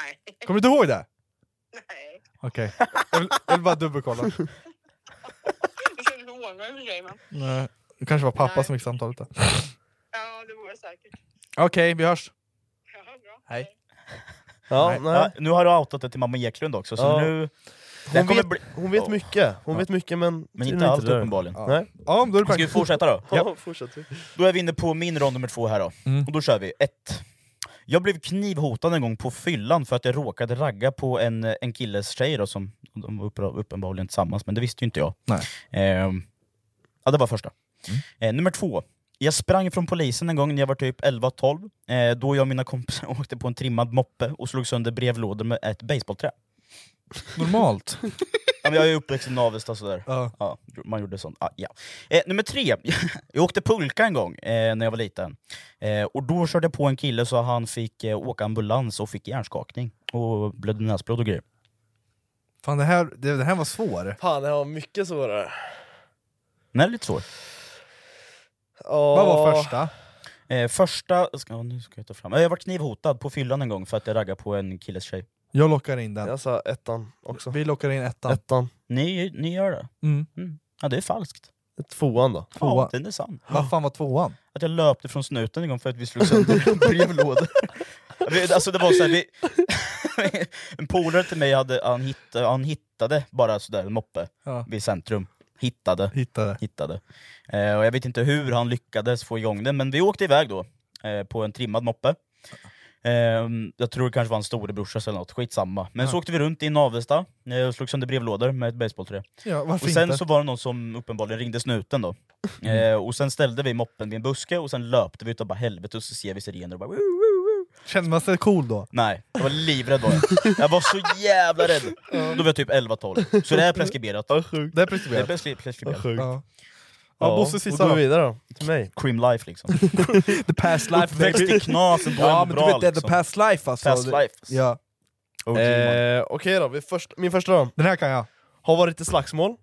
Speaker 11: Nej.
Speaker 1: Kommer du inte ihåg det?
Speaker 11: Nej.
Speaker 1: Okej, jag, vill, jag vill bara dubbelkolla.
Speaker 11: Det skulle förvåna mig i och för sig, men
Speaker 1: Nej. Det kanske var pappa
Speaker 11: Nej.
Speaker 1: som fick samtalet. där.
Speaker 11: ja, det var det säkert.
Speaker 1: Okej, vi hörs.
Speaker 11: Ja, bra.
Speaker 1: Hej.
Speaker 3: Ja,
Speaker 1: Nej.
Speaker 3: nej.
Speaker 2: Ja, nu har du outat det till mamma Eklund också, så
Speaker 3: Ja.
Speaker 2: nu... Det här
Speaker 3: Hon,
Speaker 2: kommer
Speaker 3: vet,
Speaker 2: bli...
Speaker 3: hon vet
Speaker 2: Ja.
Speaker 3: mycket, hon vet mycket men...
Speaker 2: Men
Speaker 3: tydligen
Speaker 2: inte allt
Speaker 3: där.
Speaker 2: uppenbarligen.
Speaker 1: Ja.
Speaker 3: Nej.
Speaker 1: Ja, då är det
Speaker 2: Ska vi
Speaker 1: praktiskt.
Speaker 2: fortsätta då?
Speaker 3: Ja, fortsätt.
Speaker 2: Då är vi inne på min rond nummer två här då.
Speaker 1: Mm.
Speaker 2: Och då kör vi. Ett. Jag blev knivhotad en gång på fyllan för att jag råkade ragga på en, en killes tjej då, som de var uppenbar- uppenbarligen tillsammans, men det visste ju inte jag.
Speaker 1: Nej. Mm.
Speaker 2: Ehm, ja, det var första. Eh, nummer två. Jag sprang från polisen en gång när jag var typ 11-12, eh, då jag och mina kompisar åkte på en trimmad moppe och slog sönder brevlådor med ett basebollträ.
Speaker 1: Normalt.
Speaker 2: Ja, men jag är uppväxt i Navestad sådär.
Speaker 1: Ja.
Speaker 2: man gjorde sånt. Ja, ja. Eh, nummer tre, jag åkte pulka en gång eh, när jag var liten. Eh, och då körde jag på en kille så han fick eh, åka ambulans och fick hjärnskakning. Och blödde näsblod och grejer.
Speaker 1: Fan det här, det, det här var svår.
Speaker 3: Fan, det här var mycket svårare.
Speaker 2: Den är lite svår.
Speaker 1: Vad var första?
Speaker 2: Eh, första, ska, ja, nu ska jag ta fram. Eh, Jag var knivhotad på fyllan en gång för att jag raggade på en killes tjej.
Speaker 1: Jag lockar in den.
Speaker 3: Jag sa ettan också.
Speaker 1: Vi lockar in ettan.
Speaker 3: Ettan.
Speaker 2: Ni, ni gör det?
Speaker 1: Mm.
Speaker 2: Ja, det är falskt.
Speaker 3: Tvåan då.
Speaker 2: Ja,
Speaker 1: Tvåa.
Speaker 2: den är sann.
Speaker 1: Vad fan var tvåan?
Speaker 2: Att jag löpte från snuten en gång för att vi slog sönder brevlådor. Vi- alltså det var så här, vi, en polare till mig hade, han, hittade, han hittade bara sådär en moppe
Speaker 1: Ja.
Speaker 2: vid centrum. Hittade.
Speaker 1: Hittade.
Speaker 2: hittade. Eh, och jag vet inte hur han lyckades få igång den, men vi åkte iväg då eh, på en trimmad moppe. Ehm, jag tror det kanske var en storebrorsa eller något, skitsamma. Men så åkte vi runt i Navestad eh, och slog sönder brevlådor med ett basebollträ.
Speaker 1: Ja,
Speaker 2: och
Speaker 1: varför
Speaker 2: sen
Speaker 1: inte?
Speaker 2: så var det någon som uppenbarligen ringde snuten då. Eh, och sen ställde vi moppen vid en buske och sen löpte vi utav bara helvete och så ser vi sirener och bara "Woo!"
Speaker 1: Kände man sig cool då?
Speaker 2: Nej, jag var livrädd var jag. Jag var så jävla rädd! Då var jag typ 11-12. Så det här är preskriberat.
Speaker 1: Det är
Speaker 2: Det är
Speaker 1: preskriberat.
Speaker 2: preskri- preskriberat.
Speaker 1: Ja. Ja, Bosse
Speaker 3: Då
Speaker 1: sista
Speaker 3: går
Speaker 1: då.
Speaker 3: vi vidare då. Till mig.
Speaker 2: Cream life liksom.
Speaker 1: The past life
Speaker 2: Uppväxt i knasen, då är
Speaker 1: Ja
Speaker 2: man
Speaker 1: men
Speaker 2: bra,
Speaker 1: du vet det är the
Speaker 2: liksom.
Speaker 1: past life alltså.
Speaker 2: Past life.
Speaker 1: Ja.
Speaker 2: OG, man.
Speaker 3: Eh, Okej då, vi först, min första då.
Speaker 1: Den här kan jag.
Speaker 3: Har varit i slagsmål.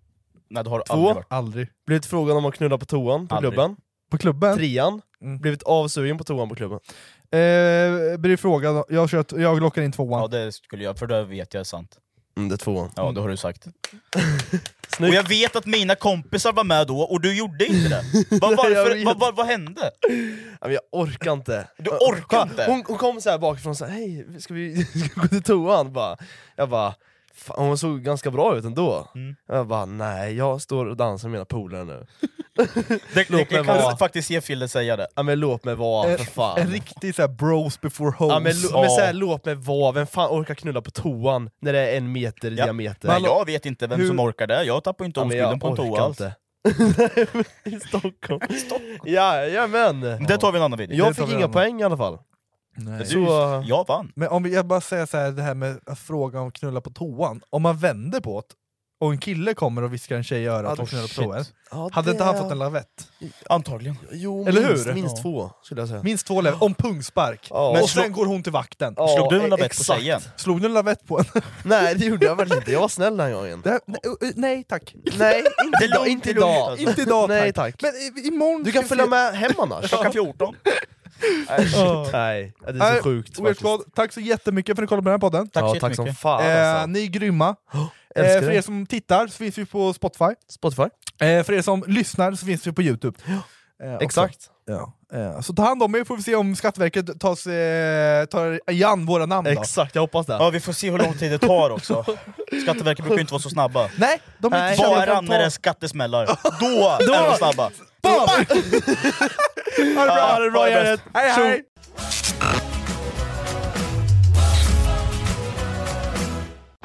Speaker 2: Nej det har du aldrig
Speaker 3: Två.
Speaker 2: varit.
Speaker 1: Aldrig.
Speaker 3: Blivit frågan om att knulla på toan på
Speaker 2: Aldrig.
Speaker 3: klubben.
Speaker 1: På klubben?
Speaker 3: Trean.
Speaker 1: Mm.
Speaker 3: Blivit avsugen på toan på klubben.
Speaker 1: Eh, blir frågad, jag, kört, jag lockar in tvåan.
Speaker 2: Ja det skulle jag, för det vet jag är sant.
Speaker 3: Mm, det är tvåan.
Speaker 2: Ja det har du sagt.
Speaker 3: Snyggt.
Speaker 2: Och jag vet att mina kompisar var med då, och du gjorde inte det! Vad,
Speaker 3: Nej, jag
Speaker 2: varför,
Speaker 3: vet.
Speaker 2: vad, vad, vad hände?
Speaker 3: Ja, men jag orkar inte.
Speaker 2: Du orkar inte?
Speaker 3: Hon, hon kom så här bakifrån och sa hej, ska vi, ska vi gå till toan? Bara, jag bara, fan, hon såg ganska bra ut ändå.
Speaker 2: Mm.
Speaker 3: Jag bara, nej jag står och dansar med mina polare nu.
Speaker 2: Det, det,
Speaker 3: Låt mig
Speaker 2: jag kan
Speaker 3: vara.
Speaker 2: faktiskt se Fille säga det.
Speaker 3: Ja men låt mig vara, för fan.
Speaker 1: En riktig såhär bros before hoes.
Speaker 3: Ja, men, lo- men så här, låt mig vara, vem fan orkar knulla på toan när det är en meter i
Speaker 2: Ja.
Speaker 3: diameter?
Speaker 2: Nej, jag vet inte vem som orkar det, jag tappar inte
Speaker 3: Ja, men jag
Speaker 2: omskulden på en toa alltså.
Speaker 3: orkar
Speaker 2: alls.
Speaker 3: inte. I Stockholm. Jajamän!
Speaker 2: Det tar vi en annan video.
Speaker 1: Det
Speaker 3: Jag
Speaker 1: tar
Speaker 3: fick
Speaker 1: vi
Speaker 3: inga
Speaker 1: annan.
Speaker 3: poäng i alla fall.
Speaker 2: Du,
Speaker 1: Nej.
Speaker 3: så-
Speaker 2: jag vann.
Speaker 1: Men om jag bara säger så här, det här med att fråga om att knulla på toan. Om man vänder på det och en kille kommer och viskar en tjej i örat
Speaker 3: Ja,
Speaker 1: och knullar på
Speaker 2: shit.
Speaker 1: toan. Hade inte han fått en lavett?
Speaker 2: Antagligen.
Speaker 3: Jo,
Speaker 1: Eller
Speaker 3: minst,
Speaker 1: hur?
Speaker 3: Minst
Speaker 2: Ja.
Speaker 3: två, skulle jag säga.
Speaker 1: Minst två lavett, om pungspark.
Speaker 3: Ja.
Speaker 1: Och
Speaker 3: Men
Speaker 1: sen går hon till vakten.
Speaker 3: Ja,
Speaker 2: Slog du en lavett på
Speaker 3: exakt.
Speaker 2: tjejen?
Speaker 1: Slog du en lavett på henne?
Speaker 3: Nej det gjorde jag väl inte, jag var snäll den gången.
Speaker 1: Det här- nej, uh, uh, Nej tack.
Speaker 3: Nej, inte
Speaker 2: Det är
Speaker 3: idag.
Speaker 2: lugnt,
Speaker 3: Inte
Speaker 2: det är lugnt,
Speaker 3: idag.
Speaker 2: alltså.
Speaker 1: Inte idag
Speaker 3: Nej
Speaker 1: tack.
Speaker 3: tack.
Speaker 1: Men i- imorgon...
Speaker 3: Du kan
Speaker 1: ska vi
Speaker 3: följa
Speaker 1: se-
Speaker 3: med hem annars.
Speaker 2: Klockan 14.
Speaker 3: Nej, shit.
Speaker 1: Ja.
Speaker 3: Nej, det är så
Speaker 1: Nej,
Speaker 3: sjukt
Speaker 1: Weird
Speaker 3: faktiskt.
Speaker 1: Squad, tack så jättemycket för att ni kollade på den här podden.
Speaker 2: Tack så
Speaker 3: ja, tack som
Speaker 2: jättemycket.
Speaker 3: fan
Speaker 1: eh,
Speaker 3: alltså.
Speaker 1: ni är grymma. Eh,
Speaker 3: Älskar
Speaker 1: för
Speaker 3: dig.
Speaker 1: er som tittar så finns vi på Spotify.
Speaker 3: Spotify.
Speaker 1: Eh, för er som lyssnar så finns vi på Youtube. Eh, också.
Speaker 3: Exakt.
Speaker 1: Ja. Eh, så ta hand om er får vi se om Skatteverket tas, eh, tar igen våra namn då.
Speaker 3: Exakt, jag hoppas det.
Speaker 2: Ja, vi får se hur lång tid det tar också. Skatteverket brukar ju inte vara så snabba.
Speaker 1: Nej, de är
Speaker 3: Nej.
Speaker 1: inte kända för
Speaker 2: Bara
Speaker 1: att
Speaker 2: när det
Speaker 1: ta...
Speaker 2: är skattesmällar, då är de snabba!
Speaker 1: Bam! ha det bra, ha det bra
Speaker 2: ha det
Speaker 1: gänget! Hej hej!